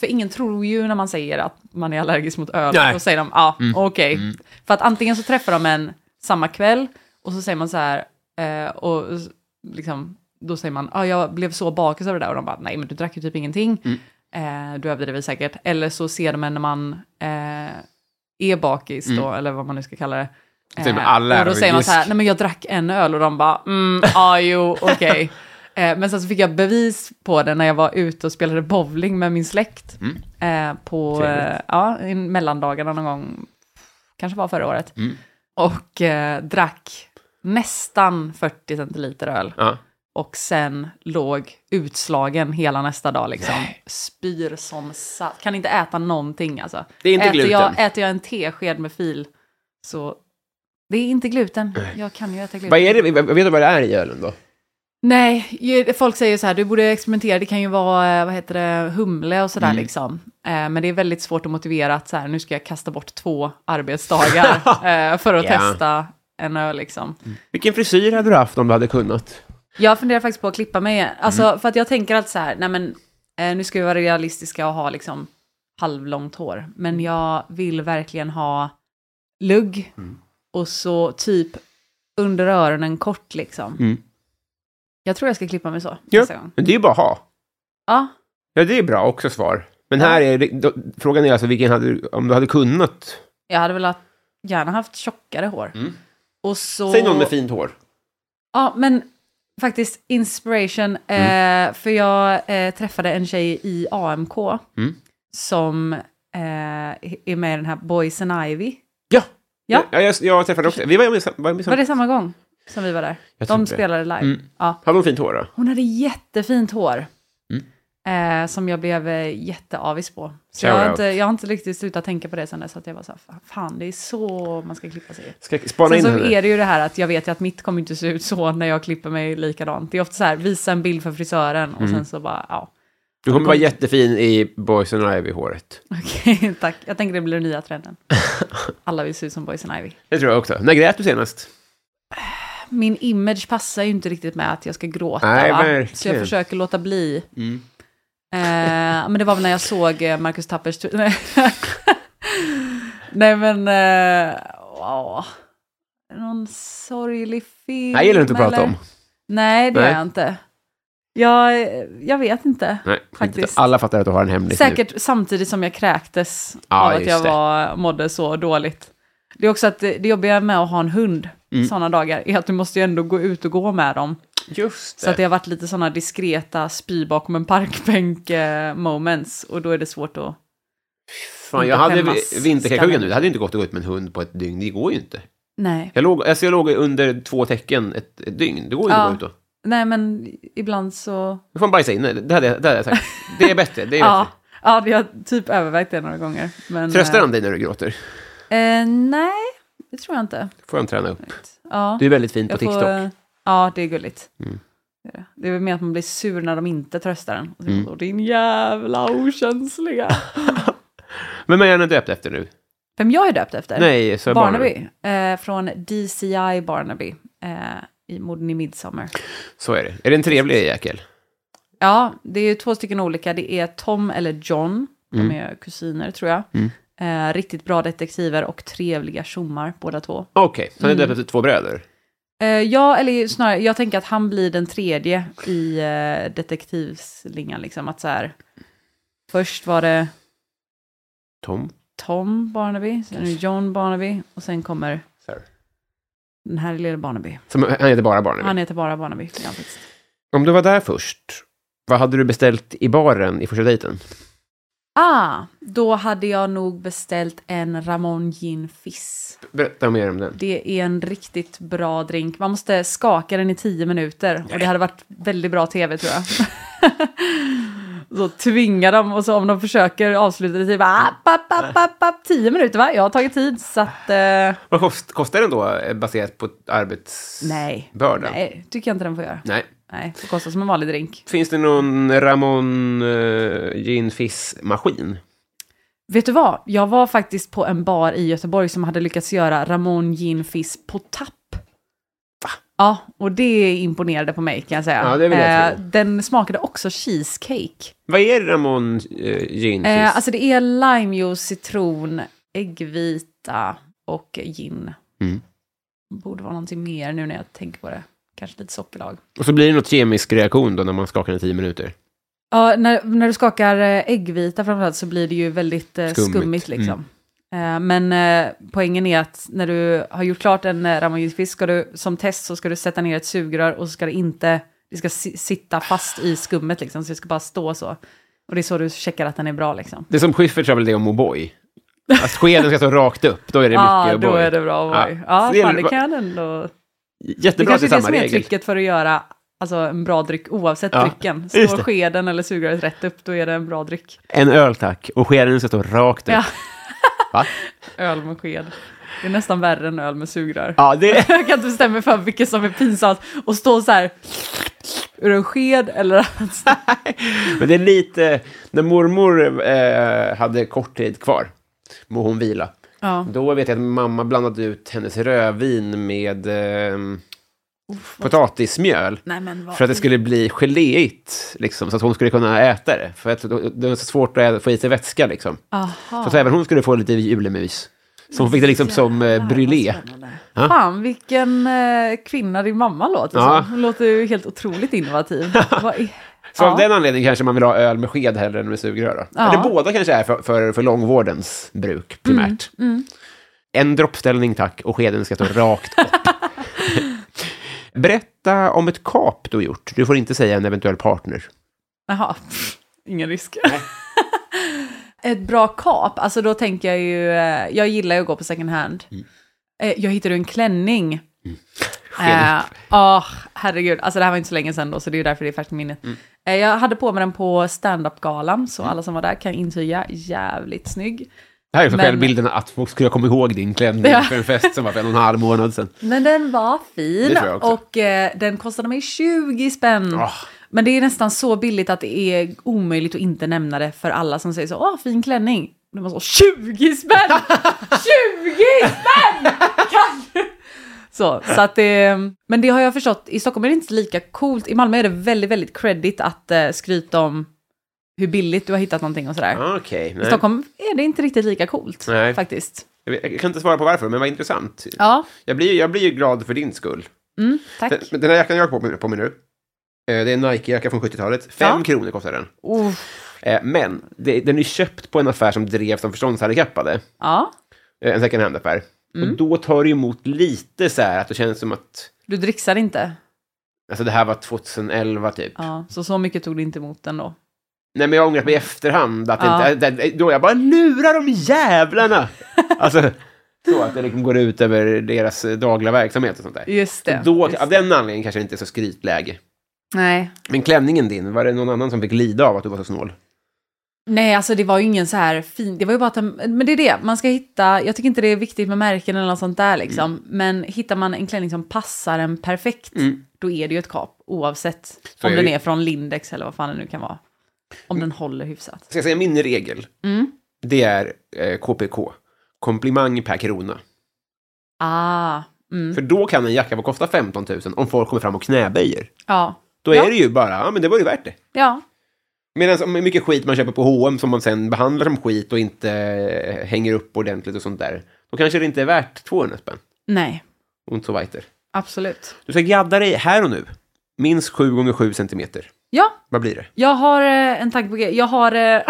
för ingen tror ju när man säger att man är allergisk mot öl, Nej. då säger de ja, okej. För att antingen så träffar de en samma kväll och så säger man så här, eh, och s- liksom, då säger man, ja, jag blev så bakis av det där och de bara, nej men du drack ju typ ingenting. Eh, du överdriver säkert. Eller så ser de en när man eh, är bakis då, eller vad man nu ska kalla det. säger man, Eh, Mm. Typ alla är och då säger man så här, allergisk. nej men jag drack en öl och de bara, mm, ja jo, okej. (laughs) Eh, Men sen så fick jag bevis på det när jag var ute och spelade bowling med min släkt. Eh, på, Mm. Trevligt. eh, ja, i mellandagarna någon gång, kanske var förra året. Mm. Och eh, drack nästan 40 centiliter öl. Ja. Och sen låg utslagen hela nästa dag liksom. Spyr som satt. Kan inte äta någonting alltså. Det är inte äter, gluten. jag, äter jag en tesked med fil så... Det är inte gluten. Jag kan ju äta gluten. Vad är det? Vet du vad det är i ölen då? Nej, ju- folk säger så här, du borde experimentera, det kan ju vara, eh, vad heter det, humle och sådär Mm. liksom. Eh, Men det är väldigt svårt att motivera att så här, nu ska jag kasta bort två (laughs) arbetsdagar eh, för att Ja. testa en öl liksom. Vilken frisyr hade du haft om du hade kunnat? Jag funderar faktiskt på att klippa mig, alltså Mm. för att jag tänker alltid så här, nej men eh, nu ska vi vara realistiska och ha liksom halvlångt hår. Mm. Men jag vill verkligen ha lugg Mm. och så typ under öronen kort liksom. Mm. Jag tror jag ska klippa mig så nästa gång. men det är ju bara att ha. Ja. Ja, det är bra också svar. Men här är det, då, frågan är alltså vilken hade du, om du hade kunnat? Jag hade velat gärna haft tjockare hår. Och så... Mm. Säg någon med fint hår. Ja, men faktiskt inspiration. Eh, för jag eh, träffade en tjej i AMK Mm. som eh, är med i den här Boys and Ivy. Ja! Ja. jag, jag träffade också. Vi var ju sam- var med Var sam- det samma gång som vi var där? Jag tror De inte det. spelade live. Mm. Ja. Hade hon fint hår då? Hon hade jättefint hår. Mm. Eh, som jag blev eh, jätteavis på. Så jag Shout har, out. inte, jag har inte riktigt slutat tänka på det sen dess. Att jag var så här, "Fan, fan det är så man ska klippa sig. Ska jag spana Sen in så henne? är det ju det här att jag vet ju att mitt kommer inte se ut så när jag klipper mig likadant. Det är ofta så här, visa en bild för frisören Mm. och sen så bara, ja. (laughs) Du kommer vara Mm. jättefin i Boys and Ivy-håret. Okej, tack. Jag tänker det blir den (laughs) nya trenden. Alla vill se ut som Boys and Ivy. Det tror jag också. När grät du senast? Min image passar ju inte riktigt med att jag ska gråta, Nej, va? verkligen. så jag försöker låta bli. Eh, men det var väl när jag såg eh, Marcus Tappers... tu- Nej. (laughs) Nej, men... Eh, åh. Någon sorglig film, Nej, gillar du inte att prata eller? om. Nej, det Nej. gör jag inte. Jag, jag vet inte Nej, faktiskt. faktiskt. Alla fattar att du har en hemlis Säkert samtidigt som jag kräktes Ja, av att just jag det. var, mådde så dåligt. Det är också att det det jobbiga med att ha en hund Mm. sådana dagar är att du måste ju ändå gå ut och gå med dem. nu. Just det. Så att det har varit lite sådana diskreta spy bakom en parkbänk eh, moments och då är det svårt att... Fan, jag inte hade skämmas. vinterkräksjukan nu. Det hade inte gått att gå ut med en hund på ett dygn. Det går ju inte. Nej. Jag låg, alltså jag låg under två tecken ett, ett dygn. Det går ju inte Ja. att gå ut då. Nej men ibland så... Du får man bajsa inne. Det hade, jag- det hade jag sagt. Det är bättre. Det är (laughs) Ja, bättre. ja, vi har typ övervägt det några gånger. Men, Tröstar han dig när du gråter? eh, eh, Nej, det tror jag inte. får han träna upp. Ja. Du är väldigt fin på Jag får, TikTok. Mm. eh, ja, det är gulligt. Det är det. Det är väl mer att man blir sur när de inte tröstar en. Och så mm. Din (laughs) jävla okänsliga. Vem är han döpt efter nu? Vem jag är döpt efter? Nej, så är Barnaby. Eh, från DCI Barnaby. Eh, I Morden i Midsommar. Så är det. Är det en trevlig jäkel? Ja, det är ju två stycken olika. Det är Tom eller John. De Mm. är kusiner tror jag. Eh, riktigt bra detektiver och trevliga tjommar båda två. Okej, så Mm. han är döpt efter två bröder. Eh, ja, eller snarare, jag tänker att han blir den tredje i eh, detektivslingan. Liksom, att så här, först var det Tom? Tom Barnaby, sen är det John Barnaby och sen kommer Så här. den här lilla Barnaby. Som, han heter bara Barnaby. Han heter bara Barnaby. Ja, faktiskt. Om du var där först, vad hade du beställt i baren i första dejten? Ah, då hade jag nog beställt en Ramon Gin Fizz. Berätta mer om den. Det är en riktigt bra drink. Man måste skaka den i tio minuter. Och det hade varit väldigt bra tv tror jag. (laughs) så tvinga dem och så om de försöker avsluta det typ app, app, app, app, app, tio minuter va? Jag har tagit tid så att... Eh, Vad kost, kostar den då eh, baserat på nej. arbetsbörda? Nej, tycker jag inte den får göra. Nej. Nej, det kostar som en vanlig drink. Finns det någon Ramon uh, Gin Fizz-maskin? Vet du vad? Jag var faktiskt på en bar i Göteborg som hade lyckats göra Ramon Gin Fizz på tapp. Ja, och det imponerade på mig kan jag säga. Eh, Ja, det vill jag tro. den smakade också cheesecake. Vad är Ramon uh, Gin Fizz? Eh, alltså det är limejuice, citron, äggvita och gin. Mm. Borde vara någonting mer nu när jag tänker på det. Kanske lite sockerlag. Och så blir det något kemisk reaktion då när man skakar den i tio minuter. Ja, när, när du skakar eh, äggvita framförallt så blir det ju väldigt eh, Skummigt. Mm. skummigt. liksom. Eh, men eh, poängen är att när du har gjort klart en eh, ramagutfisk ska du som test så ska du sätta ner ett sugrör och så ska det inte, det ska si- sitta fast i skummet liksom, så det ska bara stå så. Och det är så du checkar att den är bra liksom. Det är som Schyffert sa väl det om O'boy. Att skeden ska stå rakt upp, då är det mycket (laughs) Ja, O'boy. då är det bra O'boy. Så Ja, det fan, gäller- det kan ändå... Det, Jättebra att kanske det är är samma det som är regel. tricket för att göra alltså, en bra dryck oavsett Ja, drycken. just Står det. skeden eller sugröret rätt upp, då är det en bra dryck. En öl tack, och skeden ska stå rakt upp. Ja. Va? Öl med sked. Det är nästan värre än öl med sugrör. Ja, det... (laughs) Jag kan inte bestämma mig för vilket som är pinsamt. Och stå så här ur en sked eller att... Men det är lite, när mormor eh, hade kort tid kvar, må hon vila, Ja. då vet jag att mamma blandade ut hennes rödvin med eh, potatismjöl. (laughs) Nej, men Mm, vad... För att det skulle bli geléigt, liksom, så att hon skulle kunna äta det. För att det det var så svårt att ä- få i sig vätska, liksom. Så Aha. att även hon skulle få lite julemys. Så hon fick det liksom som eh, brylé. Ja. Fan, vilken eh, kvinna din mamma låter Ja. som. Hon låter ju helt (laughs) otroligt innovativ. Vad i- Så Ja. av den anledningen kanske man vill ha öl med sked hellre än med sugrör. Då. Ja. Mm, Eller båda kanske är för, för, för långvårdens bruk primärt. En droppställning tack och skeden ska stå rakt upp. (laughs) Berätta om ett kap du gjort. Du får inte säga en eventuell partner. Jaha, ingen risk. (laughs) Ett bra kap, alltså då tänker jag ju, eh, jag gillar ju att gå på second hand. Eh, Jag hittade ju en klänning. Skenet. Eh, Åh, herregud, alltså det här var inte så länge sedan då, så det är ju därför det är färskt minne. Eh, jag hade på mig den på stand-up-galan, så alla som var där kan intyga, jävligt snygg. Det här är också men- självbilden att folk skulle komma ihåg din klänning Ja. för en fest som var för en och en halv månad sedan. Men den var Det fin tror jag också. och eh, den kostade mig 20 spänn. Ah. Men det är nästan så billigt att det är omöjligt att inte nämna det för alla som säger så, åh fin klänning. De var så 20 (laughs) spänn! 20 spänn! Kan du? Så, så att det, men det har jag förstått, i Stockholm är det inte lika coolt, i Malmö är det väldigt, väldigt credit att eh, skryta om hur billigt du har hittat någonting och sådär. Okej. I Ah, nej. Stockholm är det inte riktigt lika coolt Nej. faktiskt. jag vet- jag kan inte svara på varför, men vad intressant. Ja, Jag blir, jag blir ju glad för din skull. mm, tack. Den, den här jackan jag har på mig, på mig nu, Eh, Det är en Nike-jacka från 70-talet. Fem Ja. kronor kostar den. Oh, Eh, Men det, den är köpt på en affär som drevs av förståndshandikappade. ja, Eh, En second hand-affär. Mm. Och då tar det emot lite så här att det känns som att... du dricksar inte. Alltså det här var 2011 typ. Ja, så så mycket tog du inte emot den då. Nej men jag har ångrat mig i efterhand. Att Ja. inte, det, då jag bara lurar de (laughs) jävlarna! alltså, så att det liksom går ut över deras eh, dagliga verksamhet och sånt där. Just det. Då, just av det. den anledningen kanske det inte är så skrytläge. Nej. Men klänningen din, var det någon annan som fick lida av att du var så snål? Nej, alltså det var ju ingen så här fin, det var ju bara att, den- men det är det, man ska hitta, jag tycker inte det är viktigt med märken eller något sånt där liksom, Mm. men hittar man en klänning som passar en perfekt, då är det ju ett kap, oavsett Mm. Så om är den det ju. Mm. är från Lindex eller vad fan det nu kan vara. Om den håller hyfsat. Ska jag säga min regel? Mm. Det är eh, KPK. Komplimang per krona. Ah, mm, För då kan en jacka få kosta 15 000 om folk kommer fram och knäböjer. ja. Då Ja. är det ju bara, ja men det var ju värt det. Ja, Medan om mycket skit man köper på H&M som man sen behandlar som skit och inte eh, hänger upp ordentligt och sånt där. Då kanske det inte är värt 200 spänn. nej, Och så weiter. absolut. Du ska gadda dig här och nu. Minst 7 gånger 7 centimeter. Ja, Vad blir det? jag har eh, en tanke på grej. Jag har... Eh, (laughs) eh,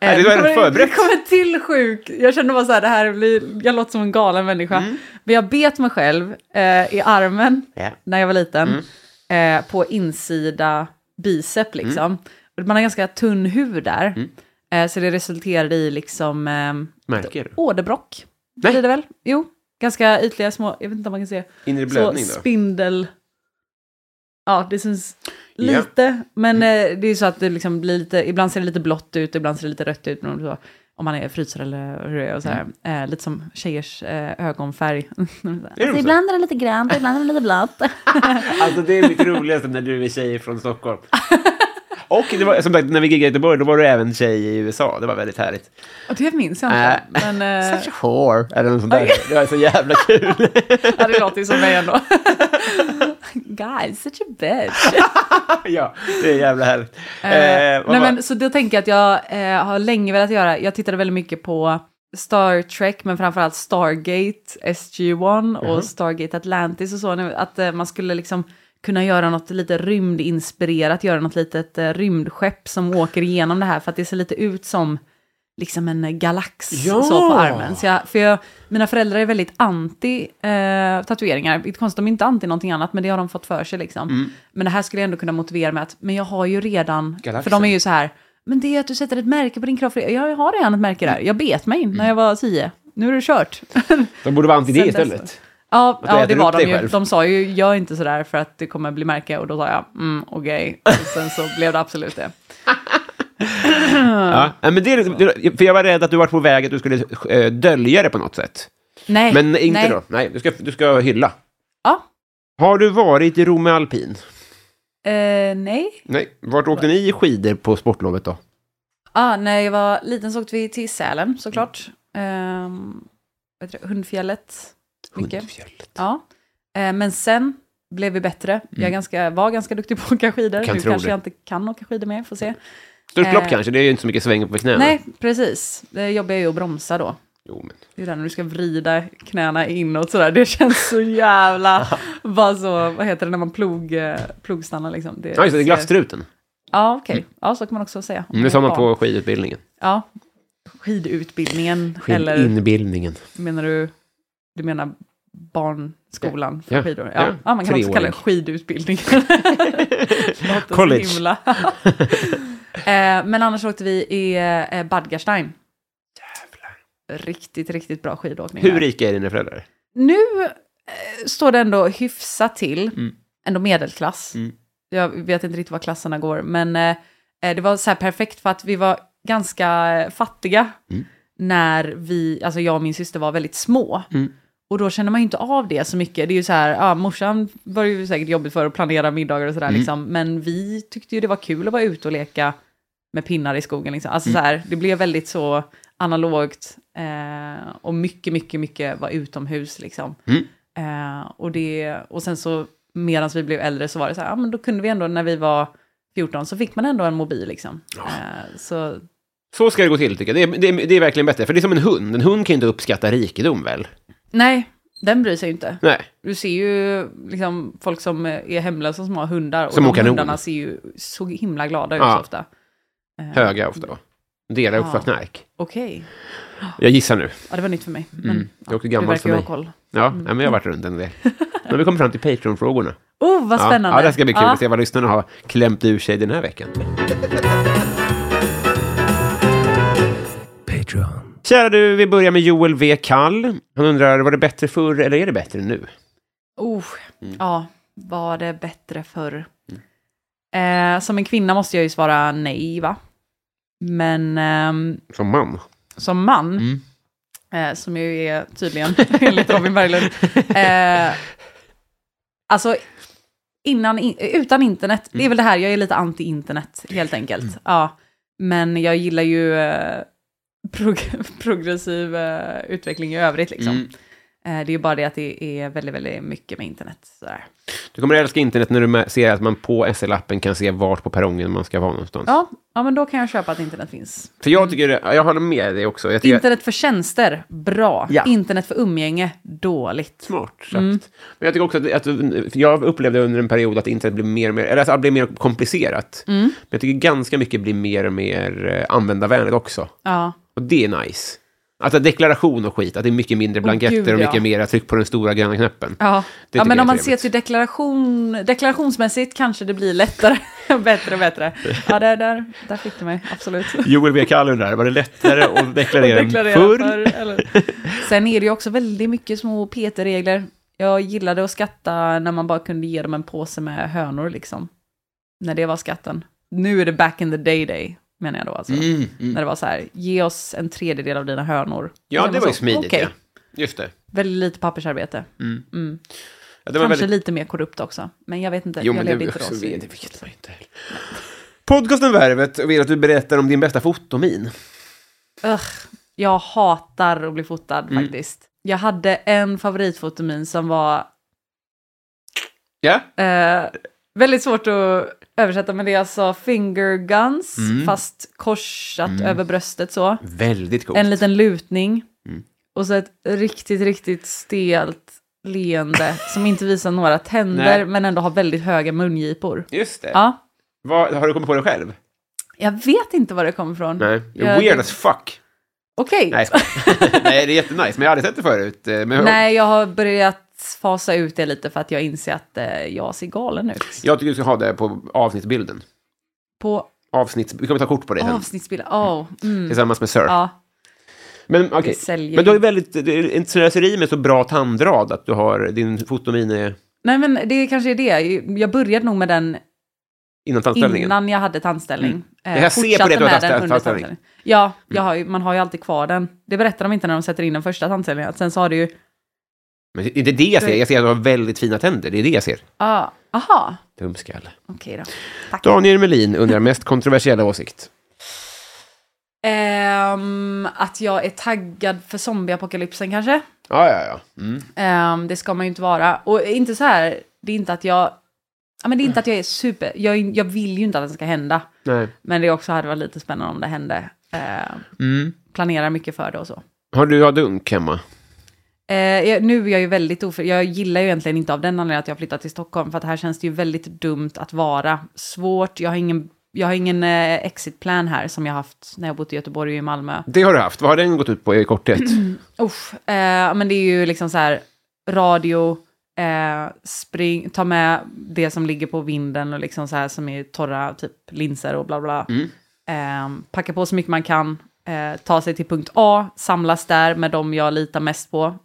är det kommer- förberett. det kommer till sjuk. Jag kände bara så här, det här blir, jag låter som en galen människa. Men jag bet mig själv eh, i armen Mm. Ja. Mm. när jag var liten. Eh, på insida bicep liksom. Och Man har ganska tunn hud där. Mm. Eh, så det resulterade i liksom eh, Märker? åderbråck. Nej. Blir det väl? Jo, ganska ytliga små, jag vet inte om man kan se. Inre blödning så då? spindel... Ja, det syns Ja. lite. Men eh, det är ju så att det liksom blir lite... Ibland ser det lite blått ut, ibland ser det lite rött ut. men så, Om man är fryser eller hur det är och så här. Mm. Eh, lite som tjejers eh, ögonfärg. Är de så? är det lite grönt, Alltså, ibland är det lite blått. Alltså det är mitt roligaste när du är tjej från (laughs) Stockholm. Och det var, som sagt, när vi giggade i Göteborg, då var du även tjej i USA. Det var väldigt härligt. och det minns jag inte. Äh. men eh, Such a whore, eller något sånt där. Det var så jävla kul. (laughs) ja, det låter ju som mig ändå. (laughs) Guys, such a bitch. ja, det är jävla härligt. Eh, vad nej, var- men, så då tänker jag att jag eh, har länge velat göra, jag tittade väldigt mycket på Star Trek, men framförallt Stargate SG-1 Mhm. och Stargate Atlantis och så, nu, att eh, man skulle liksom kunna göra något lite rymdinspirerat, göra något litet eh, rymdskepp som åker igenom det här, för att det ser lite ut som liksom en eh, galax Ja! så på armen. Så jag, för jag, mina föräldrar är väldigt anti eh, tatueringar. Vilket är konstigt, de är inte anti någonting annat, men det har de fått för sig liksom. Mm. Men det här skulle jag ändå kunna motivera med att, men jag har ju redan, Galaxen. för de är ju så här, men det är att du sätter ett märke på din kropp, för det- jag har redan ett märke där. Jag bet mig när jag var tio. Nu är det kört. (laughs) De borde vara anti det Sen istället. dess- Ja, du ja äter det upp var de dig ju. själv. De sa ju, gör inte sådär för att det kommer bli märke. Och då sa jag, mm, okej. Och sen så blev det absolut det. Ja. Ja, men det är, liksom- det- för jag var rädd att du var på väg att du skulle eh, dölja det på något sätt. Nej, Men inte nej. då. Nej, du ska, du ska hylla. Ja, Har du varit i Rom med alpin? eh, nej. Nej. Vart åkte ni skidor på sportlovet då? Ah, när jag var liten så åkte vi till Sälen såklart. Ehm, vad heter det? Hundfjället. Mycket. Hundfjället. Ja. Eh, men sen blev vi bättre. Jag ganska, var ganska duktig på att åka skidor. Mm. Kan nu tro kanske det. jag inte kan åka skidor mer, får se. Störst lopp Eh. kanske, det är ju inte så mycket sväng på knäna. Nej, precis. Det jobbar ju att bromsa då. Jo, men. Det är där när du ska vrida knäna inåt sådär. Det känns (laughs) så jävla... bara så, vad heter det när man plog, eh, plogstannar liksom? Det, Ja, just det, det är glasstruten. Ja, okej. Ja, så kan man också säga. Mm, det sa man på skidutbildningen. Ja. Skidutbildningen. eller... Inbildningen. Menar du, du menar barnskolan för Ja, skidor? ja. Ja, ja. man kan också kalla det Treåring. (laughs) skidutbildning. Låter så College. (laughs) himla. eh, men annars åkte vi i eh, Badgerstein. Riktigt, riktigt bå skidåkning. Hur där. rika är dina föräldrar? Nu eh, står det ändå hyfsat till. Ändå medelklass. Jag vet inte riktigt vad klasserna går, men eh, eh, det var så här perfekt för att vi var ganska eh, fattiga när vi, alltså jag och min syster var väldigt små. Och då känner man ju inte av det så mycket. Det är ju så här, ja, morsan var ju säkert jobbigt för att planera middagar och sådär liksom. Men vi tyckte ju det var kul att vara ute och leka med pinnar i skogen liksom. Alltså Mm. så här, det blev väldigt så analogt. Eh, och mycket, mycket, mycket var utomhus liksom. Mm. Eh, och, det, och sen så medan vi blev äldre så var det så här, ja men då kunde vi ändå när vi var 14 så fick man ändå en mobil liksom. Eh, så Så ska det gå till, tycker jag. Det är, det, är, det är verkligen bättre. För det är som en hund. En hund kan ju inte uppskatta rikedom, väl? nej, Den bryr sig ju inte. Nej. Du ser ju liksom, folk som är hemlösa som har hundar. Och Som de åker kanon. hundarna ser ju så himla glada ut Ja. så ofta. Eh, Höga ofta då. Delar uppför knark. Okej. Jag gissar nu. Ja, det var nytt för mig. Men Mm. Det är också du gammalt för verkar ju ha mig. koll. Mm. Ja, nej, men jag har varit runt (laughs) en del. Men vi kommer fram till Patreon-frågorna. Oh, vad spännande. Ja, ja, det ska bli kul Ja. att se vad lyssnarna har klämt ur sig den här veckan. Patreon. Kära du, vi börjar med Joel V. Kall. Han undrar, var det bättre förr eller är det bättre nu? Oh, Ja, var det bättre förr? Eh, som en kvinna måste jag ju svara nej, va? Men ehm, Som man. som man, eh, som jag ju är tydligen, (laughs) enligt Robin Berglund, eh, alltså innan, in, utan internet, det är väl det här, jag är lite anti-internet helt enkelt. Ja, men jag gillar ju eh, prog- (laughs) progressiv eh, utveckling i övrigt liksom. Eh, det är ju bara det att det är väldigt, väldigt mycket med internet. Sådär. Du kommer att älska internet när du mä- ser att man på SL-appen kan se vart på perrongen man ska vara någonstans. Ja, ja, men då kan jag köpa att internet finns. För jag tycker, det- ja, jag håller med dig också. Jag tycker Internet för tjänster, bra. Ja. Internet för umgänge, dåligt. Smart sagt. Mm. Men jag tycker också att, att för jag upplevde under en period att internet blev mer och mer, eller alltså, det blev mer komplicerat. Mm. Men jag tycker ganska mycket blir mer och mer eh, användarvänligt också. Ja. Och det är nice. Alltså deklaration och skit, att det är mycket mindre blanketter gud, och mycket ja. mera tryck på den stora gröna knappen. Ja, Det ja tycker men jag om är man ser trevligt. till deklaration, deklarationsmässigt kanske det blir lättare, (laughs) bättre och bättre. Ja, där, där, där fick du mig, absolut. (laughs) Joel W. Kall undrar, var det lättare att deklarera, än Deklarera förr? för- eller. Sen är det ju också väldigt mycket små PT-regler. Jag gillade att skatta när man bara kunde ge dem en påse med hönor liksom. När det var skatten. Nu är det back in the day day, menar jag då alltså. Mm, mm. När det var så här, ge oss en tredjedel av dina hönor. Ja, Och så det man var ju så, smidigt. okej. Ja. Just det. Väldigt lite pappersarbete. Mm. Ja, det var Kanske väldigt... lite mer korrupt också, men jag vet inte. Jo, jag men det, alltså, levde det, inte då. så- det vet man inte heller. Podcasten Värvet vill att du berättar om din bästa fotomin. Ugh, jag hatar att bli fotad Mm. faktiskt. Jag hade en favoritfotomin som var Ja? eh, väldigt svårt att översätta, men det är alltså finger guns, Mm. fast korsat över bröstet så. Väldigt coolt. En liten lutning. Mm. Och så ett riktigt, riktigt stelt leende som inte visar några Nej. tänder, men ändå har väldigt höga mungipor. Just det. Ja, Vad, har du kommit på det själv? jag vet inte var det kommer ifrån. Nej. You're Jag- weird as fuck. Okej. Nej, jag skojar. (laughs) Nej, det är jättenice, men jag har aldrig sett det förut. eh, Men Nej, jag har börjat fasa ut det lite för att jag inser att eh, jag ser galen ut. Jag tycker du ska ha det på avsnittsbilden. På Avsnitt, vi kommer ta kort på det sen. avsnittsbilder, åh. Mm. Tillsammans med Sir. Ja, Men okej. säljer Men du har ju ju. väldigt, det är ett slöseri med så bra tandrad att du har, din fotomin är nej men det kanske är det. Jag började nog med den innan tandställningen. innan jag hade tandställning. Mm. Jag kan se på det att du har tandställ- tandställning. Mm. Ja, jag har, ju- man har ju alltid kvar den. Det berättar de inte när de sätter in den första tandställningen. Att Sen så har det ju, Men det är det jag ser, jag ser att du har väldigt fina tänder, det är det jag ser. ah, aha, Dumskalle. okej då. Tack. Daniel Melin undrar mest kontroversiella åsikt. Ehm, att jag är taggad för zombieapokalypsen kanske. Ja, ja, ja. Mm. Ehm, det ska man ju inte vara. Och inte så här, det är inte att jag... Ja, men det är inte att jag är super... Jag, är- jag vill ju inte att det ska hända. Nej. Men det också hade varit lite spännande om det hände. Ehm, Mm. planerar mycket för det och så. Har du adunk hemma? Eh, jag, nu är jag ju väldigt oför... Jag gillar ju egentligen inte av den anledningen att jag flyttat till Stockholm, för att här känns det ju väldigt dumt att vara. Svårt, jag har ingen, jag har ingen eh, exitplan här som jag haft när jag bott i Göteborg och i Malmö. Det har du haft. Vad har den gått ut på i korthet? Mm. Usch, eh, men det är ju liksom så här radio, eh, spring, ta med det som ligger på vinden och liksom så här som är torra, typ linser och bla bla. Mm. Eh, packa på så mycket man kan, eh, ta sig till punkt A, samlas där med de jag litar mest på.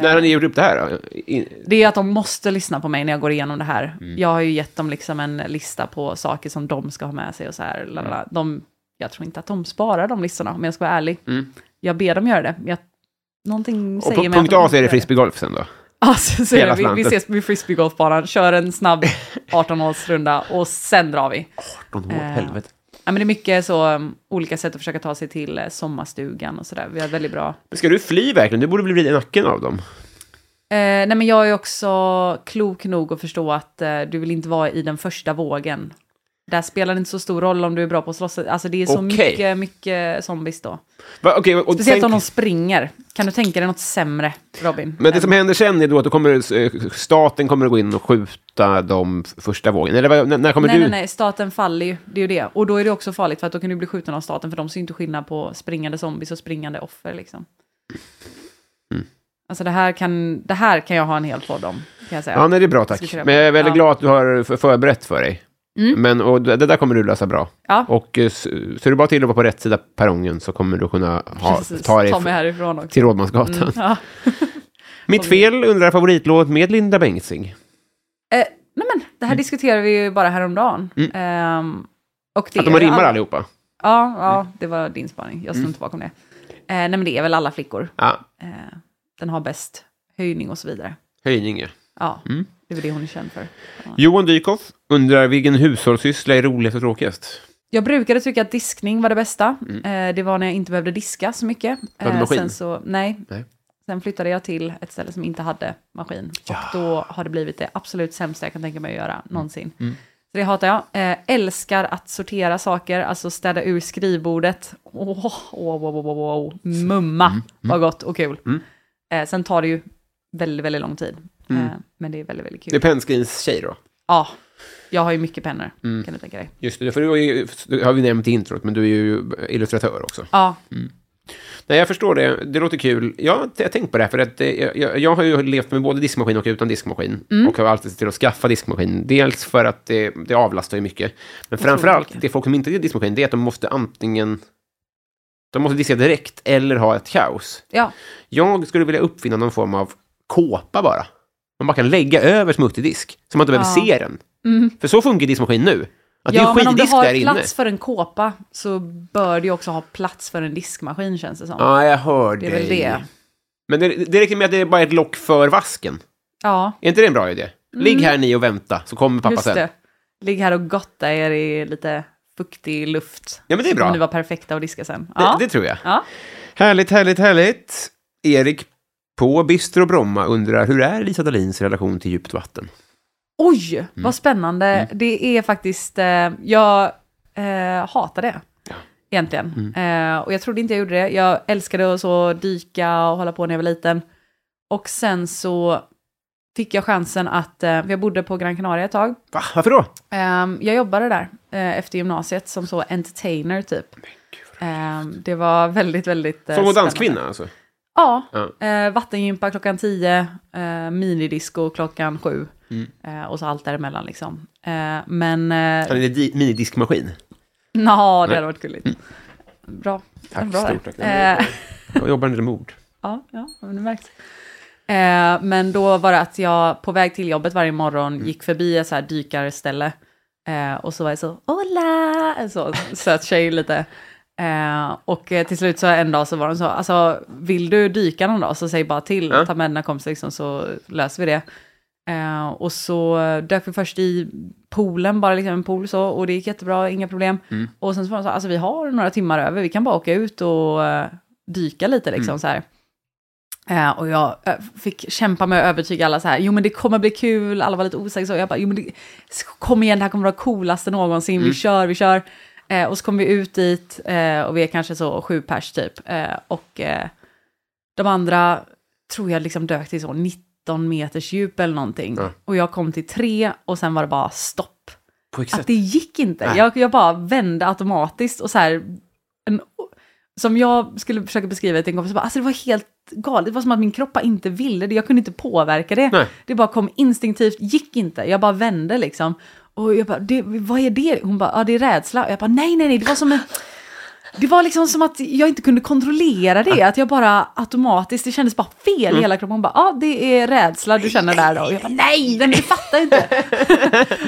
När har ni gjort upp det här? då? I- Det är att de måste lyssna på mig när jag går igenom det här. Mm. Jag har ju gett dem liksom en lista på saker som de ska ha med sig och så här. la, la, Mm. la. De, jag tror inte att de sparar de listorna om jag ska vara ärlig. Jag ber dem göra det. Jag, någonting Mm. Och säger på mig att punkt de A inte så är det gör frisbeegolf sen då? (laughs) Alltså, så är Hela det, vi, vi slanten. ses vid frisbeegolfbanan, kör (laughs) en snabb 18-hålsrunda och sen drar vi. De hårt, Eh. helvete. Ja, men det är mycket så um, olika sätt att försöka ta sig till eh, sommarstugan och sådär. Vi har väldigt bra. Men Ska du fly verkligen? Du borde bli vriden i nacken av dem. Eh, nej, men jag är också klok nog att förstå att eh, du vill inte vara i den första vågen. Där spelar det inte så stor roll om du är bra på att slåss. Alltså det är så Okej. mycket, mycket zombies då. Va, okej, och Speciellt tänk- om de springer. Kan du tänka dig något sämre, Robin? Men det som händer sen är då att då kommer, eh, staten kommer att gå in och skjuta de f- första vågen. Eller vad- när, när kommer nej, du? nej, nej, staten faller ju. Det är ju det. Och då är det också farligt för att då kan du bli skjuten av staten för de ser ju inte skillnad på springande zombies och springande offer liksom. Mm. Alltså det här, kan, det här kan jag ha en hel podd om, kan jag säga. Ja, nej, det är bra tack. Ska vi köra på? Men jag är väldigt Ja. Mm. glad att du har f- förberett för dig. Men och det, det där kommer du lösa bra. Ja. Och eh, så, så är det bara till att vara på rätt sida perrongen så kommer du kunna ha, Precis, ta dig mig härifrån också. Mm, till Rådmansgatan. Ja. Mitt fel undrar favoritlåt med Linda Bengtzing. Eh, nej men, det Mm. här diskuterade vi ju bara häromdagen. Ehm, och det Att är de ju rimmar Mm. alla- allihopa. Ja, ja, det var din spaning. Jag står inte bakom det. Eh, nej men det är väl alla flickor. Ja, Eh, den har bäst höjning och så vidare. höjning. ja. Ja, Mm. det är väl det hon är känd för. Johan Dykhoff undrar vilken hushållssyssla är roligast och tråkigast? Jag brukade tycka att diskning var det bästa. Eh, det var när jag inte behövde diska så mycket. Mm. Eh, du maskin? sen så, nej. Nej. Sen flyttade jag till ett ställe som inte hade maskin. Och då har det blivit det absolut sämsta jag kan tänka mig att Mm. göra någonsin. Så det hatar jag. Eh, älskar att sortera saker, alltså städa ur skrivbordet. Åh, åh, åh, åh, åh, åh, åh. mumma, Mm. vad gott och kul. Eh, sen tar det ju väldigt, väldigt lång tid. Eh, men det är väldigt, väldigt Mm. Det är kul. Penskrins tjej då? Ja, jag har ju mycket pennor, Mm. kan du tänka dig. Just det, för du, har ju, det har vi nämnt i introt, men du är ju illustratör också. Ja, Nej, jag förstår det. Det låter kul. Jag har inte- jag har tänkt på det här, för att eh, jag, jag har ju levt med både diskmaskin och utan diskmaskin. Och har alltid sett till att skaffa diskmaskin. Dels för att det, det avlastar ju mycket. Men framför allt, mycket. det folk som inte har diskmaskin, det är att de måste antingen... De måste diska direkt eller ha ett kaos. ja. Jag skulle vilja uppfinna någon form av kåpa bara. Man bara kan lägga över smutsig disk, så man inte behöver Ja. se Mm. den. För så funkar diskmaskin nu. Att det är Ja, men om du skitdisk där har inne. plats för en kåpa så bör du ju också ha plats för en diskmaskin känns det som. Ja, jag hör det dig. är väl det. Men det, det räcker med att det är bara ett lock för vasken. Ja, Är inte det en bra idé? Ligg här ni och vänta, så kommer pappa Mm. just sen. det. Ligg här och gotta er i lite fuktig luft. Ja, men det är Så kommer bra. ni vara perfekta och diska sen. Det, Ja, det tror jag. ja. Härligt, härligt, härligt. Erik på Bistro Bromma undrar, hur är Lisa Dahlins relation till djupt vatten? Oj, Mm. vad spännande. Det är faktiskt, eh, jag eh, hatar det. Egentligen. Mm. Eh, och jag trodde inte jag gjorde det. Jag älskade att så dyka och hålla på när jag var liten. Och sen så fick jag chansen att, eh, jag bodde på Gran Canaria ett tag. Va? Varför då? Ehm, jag jobbade där eh, efter gymnasiet som så entertainer typ. Ehm, det var väldigt, väldigt... eh, Sång och spännande. danskvinna alltså? Ja. Ja. Eh, vattengympa klockan 10, eh, minidisco klockan 7 Mm. eh, och så allt däremellan liksom. Eh, men... Eh, Han (laughs) är en di- minidiskmaskin. Nå, det hade varit gulligt. Bra. Mm. Tack, bra där. stort tack. Nej, Eh, Jag jobbar inte med ord. Ja, ja men det märks. Eh, men då var det att jag på väg till jobbet varje morgon gick förbi ett så här dykarställe. Eh, och så var jag så, hola! En så söt tjej lite. Eh, och eh, till slut så en dag så var de så, alltså vill du dyka någon dag så säg bara till, Ja. ta med dina kompisar liksom, så löser vi det. Eh, och så dök vi först i poolen, bara liksom en pool så, och det gick jättebra, inga problem. Och sen så var de så, alltså vi har några timmar över, vi kan bara åka ut och eh, dyka lite liksom så här. Eh, och jag eh, fick kämpa med att övertyga alla så här, jo men det kommer bli kul, alla var lite osäkra så. Jag bara, jo men det, kom igen, det här kommer vara coolaste någonsin, vi kör, vi kör. Eh, och så kom vi ut dit eh, och vi är kanske så sju pers typ. Eh, och eh, de andra tror jag liksom dök till så 19 meters djup eller någonting. Ja. Och jag kom till tre och sen var det bara stopp. På Att det gick inte. Nej. Jag, jag bara vände automatiskt och så här... En, som jag skulle försöka beskriva det till en kompis, så bara, alltså det var helt galet. Det var som att min kropp bara inte ville det. Jag kunde inte påverka det. Nej. Det bara kom instinktivt, gick inte. Jag bara vände liksom. Och jag bara, det, vad är det? Hon bara, ja det är rädsla. Och jag bara, nej, nej, nej, det var som en... Det var liksom som att jag inte kunde kontrollera det, att jag bara automatiskt, det kändes bara fel Mm. i hela kroppen. Hon bara, ja ah, det är rädsla du känner där då. Och jag bara, nej, nej men du fattar inte.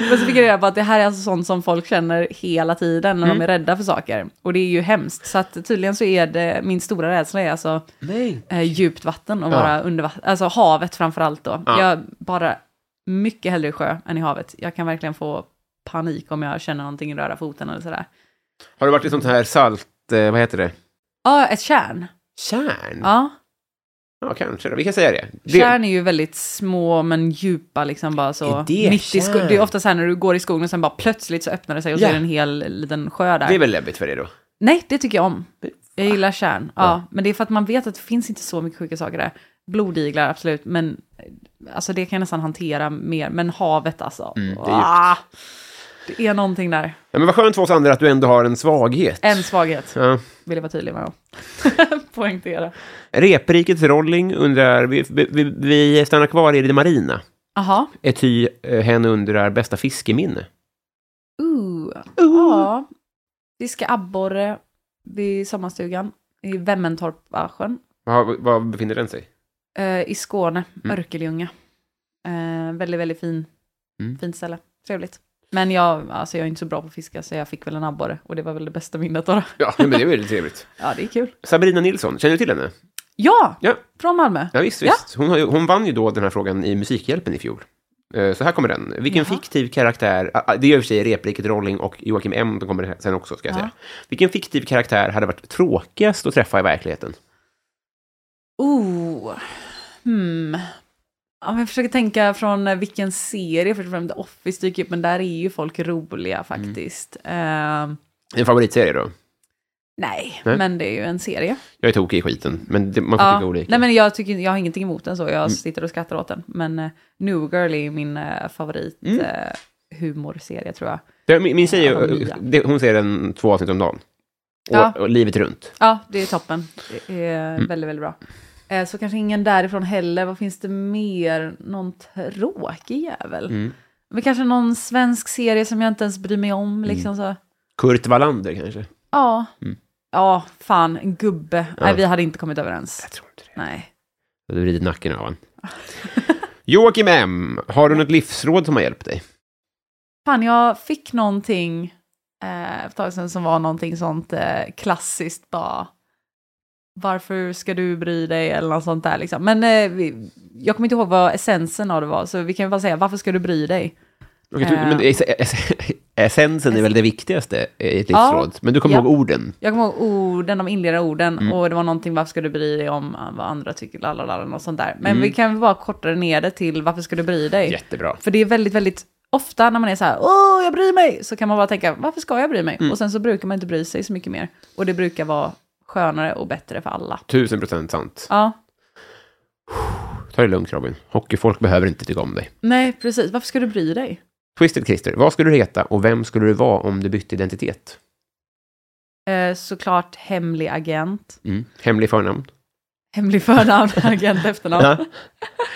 Men så fick jag reda på att det här är alltså sånt som folk känner hela tiden när Mm. de är rädda för saker. Och det är ju hemskt. Så att tydligen så är det, min stora rädsla är alltså Nej. eh, djupt vatten och vara under vatten, alltså havet framför allt då. Ja. Jag bara mycket hellre i sjö än i havet. Jag kan verkligen få panik om jag känner någonting röra foten eller sådär. Har du varit i sånt här salt... eh, Vad heter det? Ja, ett kärn. Kärn? Ja. Ja, kanske då. Vi kan säga det. det Kärn är ju väldigt små men djupa liksom bara så. Är det mitt i sko- kärn? det är ofta så här när du går i skogen och sen bara plötsligt så öppnar det sig och Ja. så är det en hel liten sjö där. det är väl läbbigt för dig då? Nej, det tycker jag om. Jag gillar kärn. Ja. Men det är för att man vet att det finns inte så mycket sjuka saker där. Blodiglar, absolut, men eh, alltså, det kan jag nästan hantera mer. Men havet alltså. det är djupt. ah, det är någonting där. Ja, men vad skönt för oss andra att du ändå har en svaghet. En svaghet, Ja. vill jag vara tydlig med. (laughs) att Poängtera. Reprikets Rolling undrar, vi, vi, vi stannar kvar i det marina. Jaha. Ety eh, hen undrar bästa fiskeminne. Ooh. Ja. Fiska abborre vid sommarstugan i Vemmentorpasjön. Var, var befinner den sig? Eh, I Skåne, Mm. Örkelljunga. Eh, väldigt, väldigt fin. Mm. Fint ställe. Trevligt. Men jag, alltså jag är inte så bra på att fiska, så jag fick väl en abborre. Och det var väl det bästa minnet då. Ja, men det är väldigt trevligt. Ja, det är kul. Sabrina Nilsson, känner du till henne? Ja! Ja. Från Malmö. Ja, visst, visst. Hon, har ju, hon vann ju då den här frågan i Musikhjälpen i fjol. Eh, Så här kommer den. Vilken Jaha. fiktiv karaktär, ah, ah, det är i och för sig Repriket Rolling och Joakim M, de kommer sen också, ska jag Ja. säga. Vilken fiktiv karaktär hade varit tråkigast att träffa i verkligheten? Oh. Hmm. Ja, men jag försöker tänka från eh, vilken serie, för att The Office dyker upp, men där är ju folk roliga faktiskt. Eh, En favoritserie då? nej, Nej. men det är ju en serie. Jag är tokig i skiten, men det, man får tycka olika. Mm. Nej, men jag, tycker, jag har ingenting emot den så, jag sitter och skrattar åt den. Men eh, New Girl är min eh, favorit Mm. eh, humorserie tror jag. Det- min, min tjej, Alla nya. eh, det, hon ser en två avsnitt om dagen. Och, Ja. och livet runt. Ja, det är toppen. Det är Mm. väldigt, väldigt bra. Eh, så kanske ingen därifrån heller. Vad finns det mer? Någon tråkig jävel? Mm. Men kanske någon svensk serie som jag inte ens bryr mig om. Mm. Liksom så. Kurt Wallander kanske? Ja. Mm. ja, fan, en gubbe. Nej, vi hade inte kommit överens. Jag tror inte det. Nej. Du har vridit nacken av (laughs) honom. Joakim M, har du något livsråd som har hjälpt dig? Fan, jag fick någonting eh, för ett tag sedan som var någonting sånt eh, klassiskt bara. Varför ska du bry dig eller något sånt där liksom. Men eh, vi, jag kommer inte ihåg vad essensen av det var, så vi kan bara säga varför ska du bry dig? Okej, du- Eh. men es- es- (laughs) essensen är väl det viktigaste i ett livsråd? Men du kommer Ja. ihåg orden? Jag kommer ihåg orden, de inledande orden och det var någonting varför ska du bry dig om eh, vad andra tycker, lalala, något sånt där. Men vi kan väl bara korta ner det till varför ska du bry dig? Jättebra. För det är väldigt, väldigt ofta när man är så här, åh, jag bryr mig, så kan man bara tänka, varför ska jag bry mig? Och sen så brukar man inte bry sig så mycket mer. Och det brukar vara skönare och bättre för alla. Tusen procent sant. Ja, Ta det lugnt Robin. Hockeyfolk behöver inte tycka om dig. nej, precis. Varför ska du bry dig? Twisted Christer, vad skulle du heta och vem skulle du vara om du bytte identitet? Eh, såklart hemlig agent. Mm. Hemlig förnamn? Hemlig förnamn, agent efternamn. Ja.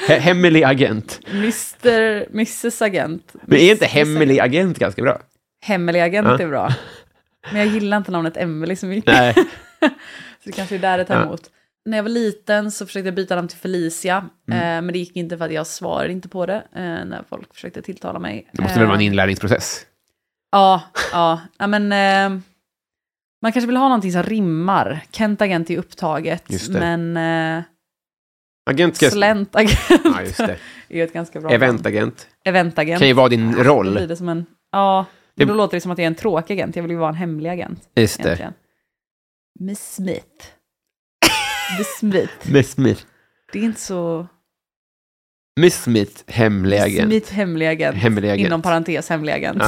He- hemlig agent. Mr, Mrs agent. Men är inte Mrs. agent. hemlig agent ganska bra? Hemlig agent Ja. är bra. Men jag gillar inte namnet Emily så mycket. Nej. Så det kanske är där det tar emot. När jag var liten så försökte jag byta namn till Felicia. Mm. Eh, men det gick inte för att jag svarade inte på det eh, när folk försökte tilltala mig. (laughs) Det måste väl vara en Eh, inlärningsprocess? Ja, ja. ja men, eh, man kanske vill ha någonting som rimmar. Kent Agent är upptaget. Just det. Men eh, Agent ska... Slent Agent Ja, just (laughs) det. är ju ett ganska bra namn. Eventagent. Eventagent. Kan ju vara din Då blir roll. det som en... Ja, Det- men då låter det som att jag är en tråkig agent. Jag vill ju vara en hemlig agent. Just det. egentligen. Miss Smith. (laughs) Miss Smith. Miss Smith. Det är inte så... Miss Smith, hemlig agent. Smith hemlig agent. Hemlig agent. Inom parentes hemlig agent.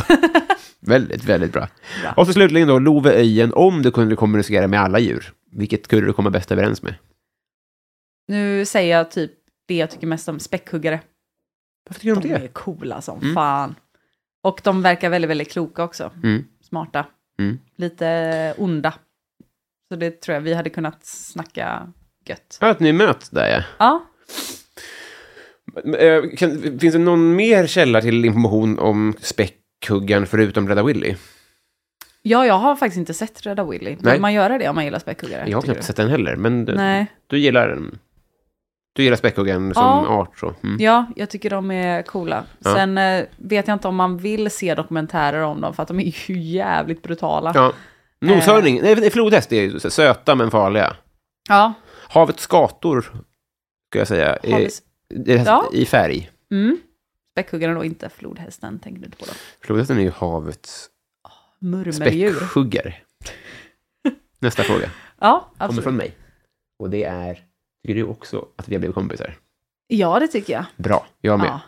Väldigt, väldigt bra. Bra. Och så slutligen då, Love Öjen, om du kunde kommunicera med alla djur, vilket skulle du komma bäst överens med? (laughs) Nu säger jag typ det jag tycker mest om, späckhuggare. Varför tycker De du om är det? coola som Mm. fan. Och de verkar väldigt, väldigt kloka också. Mm. Smarta. Mm. Lite onda. Så det tror jag vi hade kunnat snacka gött. Ja, att ni möts där ja. Ja, Men, eh, Kan, finns det någon mer källa till information om späckhuggan förutom Rädda Willy? ja jag har faktiskt inte sett Rädda Willy. Nej. Vill man göra det om man gillar späckhuggare? Jag har tycker knappt du? sett Mm. den heller, men du, Nej. du gillar den. Du gillar späckhuggan som Ja. art så. Mm. Ja, jag tycker de är coola. Ja. Sen eh, vet jag inte om man vill se dokumentärer om dem, för att de är ju jävligt brutala. Ja. Noshörning, nej, nej, flodhäst är ju så- söta men farliga. Ja. Havets skator, ska jag säga, är- Havets- är, Ja. i färg. Mm. Späckhuggaren då, inte flodhästen, tänker du inte på då? Flodhästen är ju havets Murmeldjur. (laughs) späckhuggare. Nästa fråga. Ja, Kommer absolut. från mig. Och det är, Tycker du också att vi har blivit kompisar? Ja, det tycker jag. Bra, jag med. Ja.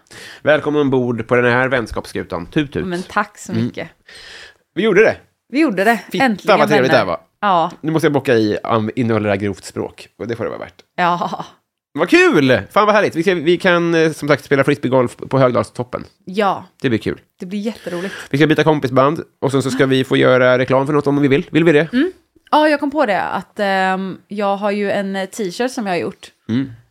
Välkommen ombord på den här vänskapsskutan. Tut tut. Men tack så mycket. Vi gjorde det! Vi gjorde det. Mm. Fitta Äntligen vad trevligt det här vänner. var. Ja, Nu måste jag bocka i um, innehåller grovt språk. Och det får det vara värt. ja, Vad kul! Fan vad härligt. Vi, ska, vi kan eh, som sagt spela frisbeegolf på Högdalstoppen. ja. Det blir kul. Det blir jätteroligt. Vi ska byta kompisband och sen så ska vi få göra reklam för något om vi vill. Vill vi det? Ja, jag kom på det att ehm, jag har ju en eh, t-shirt som jag har gjort.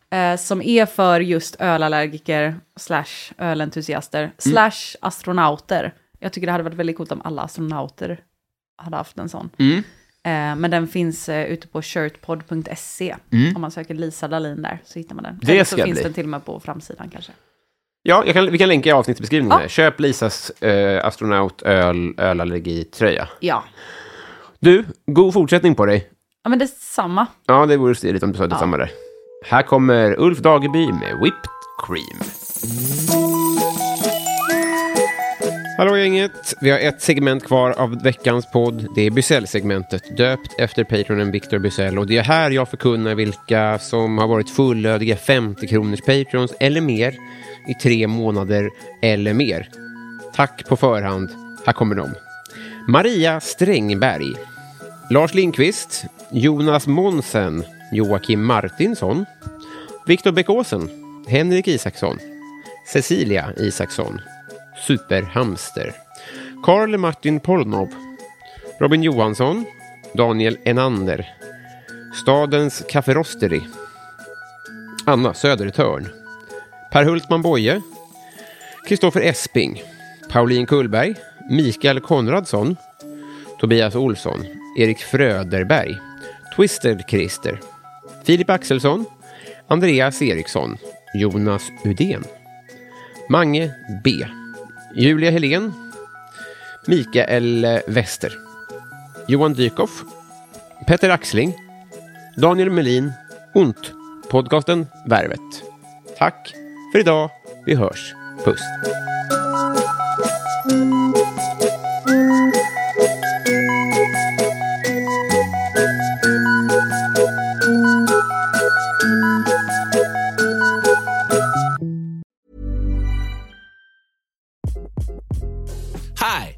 eh, som är för just ölallergiker, slash ölentusiaster, Mm. slash astronauter. Jag tycker det hade varit väldigt coolt om alla astronauter hade haft en sån. Mm. Eh, men den finns eh, ute på shirtpod.se. Om man söker Lisa Dahlin där så hittar man den. Mm. Det Eller ska så finns bli. den till och med på framsidan kanske. Ja, jag kan, vi kan länka i avsnittsbeskrivningen. Ja. här. Köp Lisas eh, astronaut öl, ölallergitröja. Ja, Du, god fortsättning på dig. ja men det är samma. Ja, det vore stiligt om du sa detsamma där. Här kommer Ulf Dageby med Whipped Cream. Hallå gänget! Vi har ett segment kvar av veckans podd. Det är Bysell-segmentet, döpt efter patronen Victor Bysell. Och det är här jag förkunnar vilka som har varit fullödiga 50-kronors patrons eller mer i tre månader eller mer. Tack på förhand. Här kommer de. Maria Strängberg. Lars Lindqvist, Jonas Monsen, Joakim Martinsson, Viktor Bäckåsen, Henrik Isaksson, Cecilia Isaksson, Superhamster, Karl Martin Polnov, Robin Johansson, Daniel Enander, Stadens Kafferosteri, Anna Södertörn, Per Hultman Boye, Kristoffer Esping, Pauline Kullberg, Mikael Konradsson, Tobias Olsson, Erik Fröderberg, Twister Christer, Filip Axelsson, Andreas Eriksson, Jonas Udén, Mange B, Julia Helén, Mikael Wester, Johan Dykhoff, Petter Axling, Daniel Melin, Ont, podcasten Värvet. Tack för idag. Vi hörs. Puss. Hi,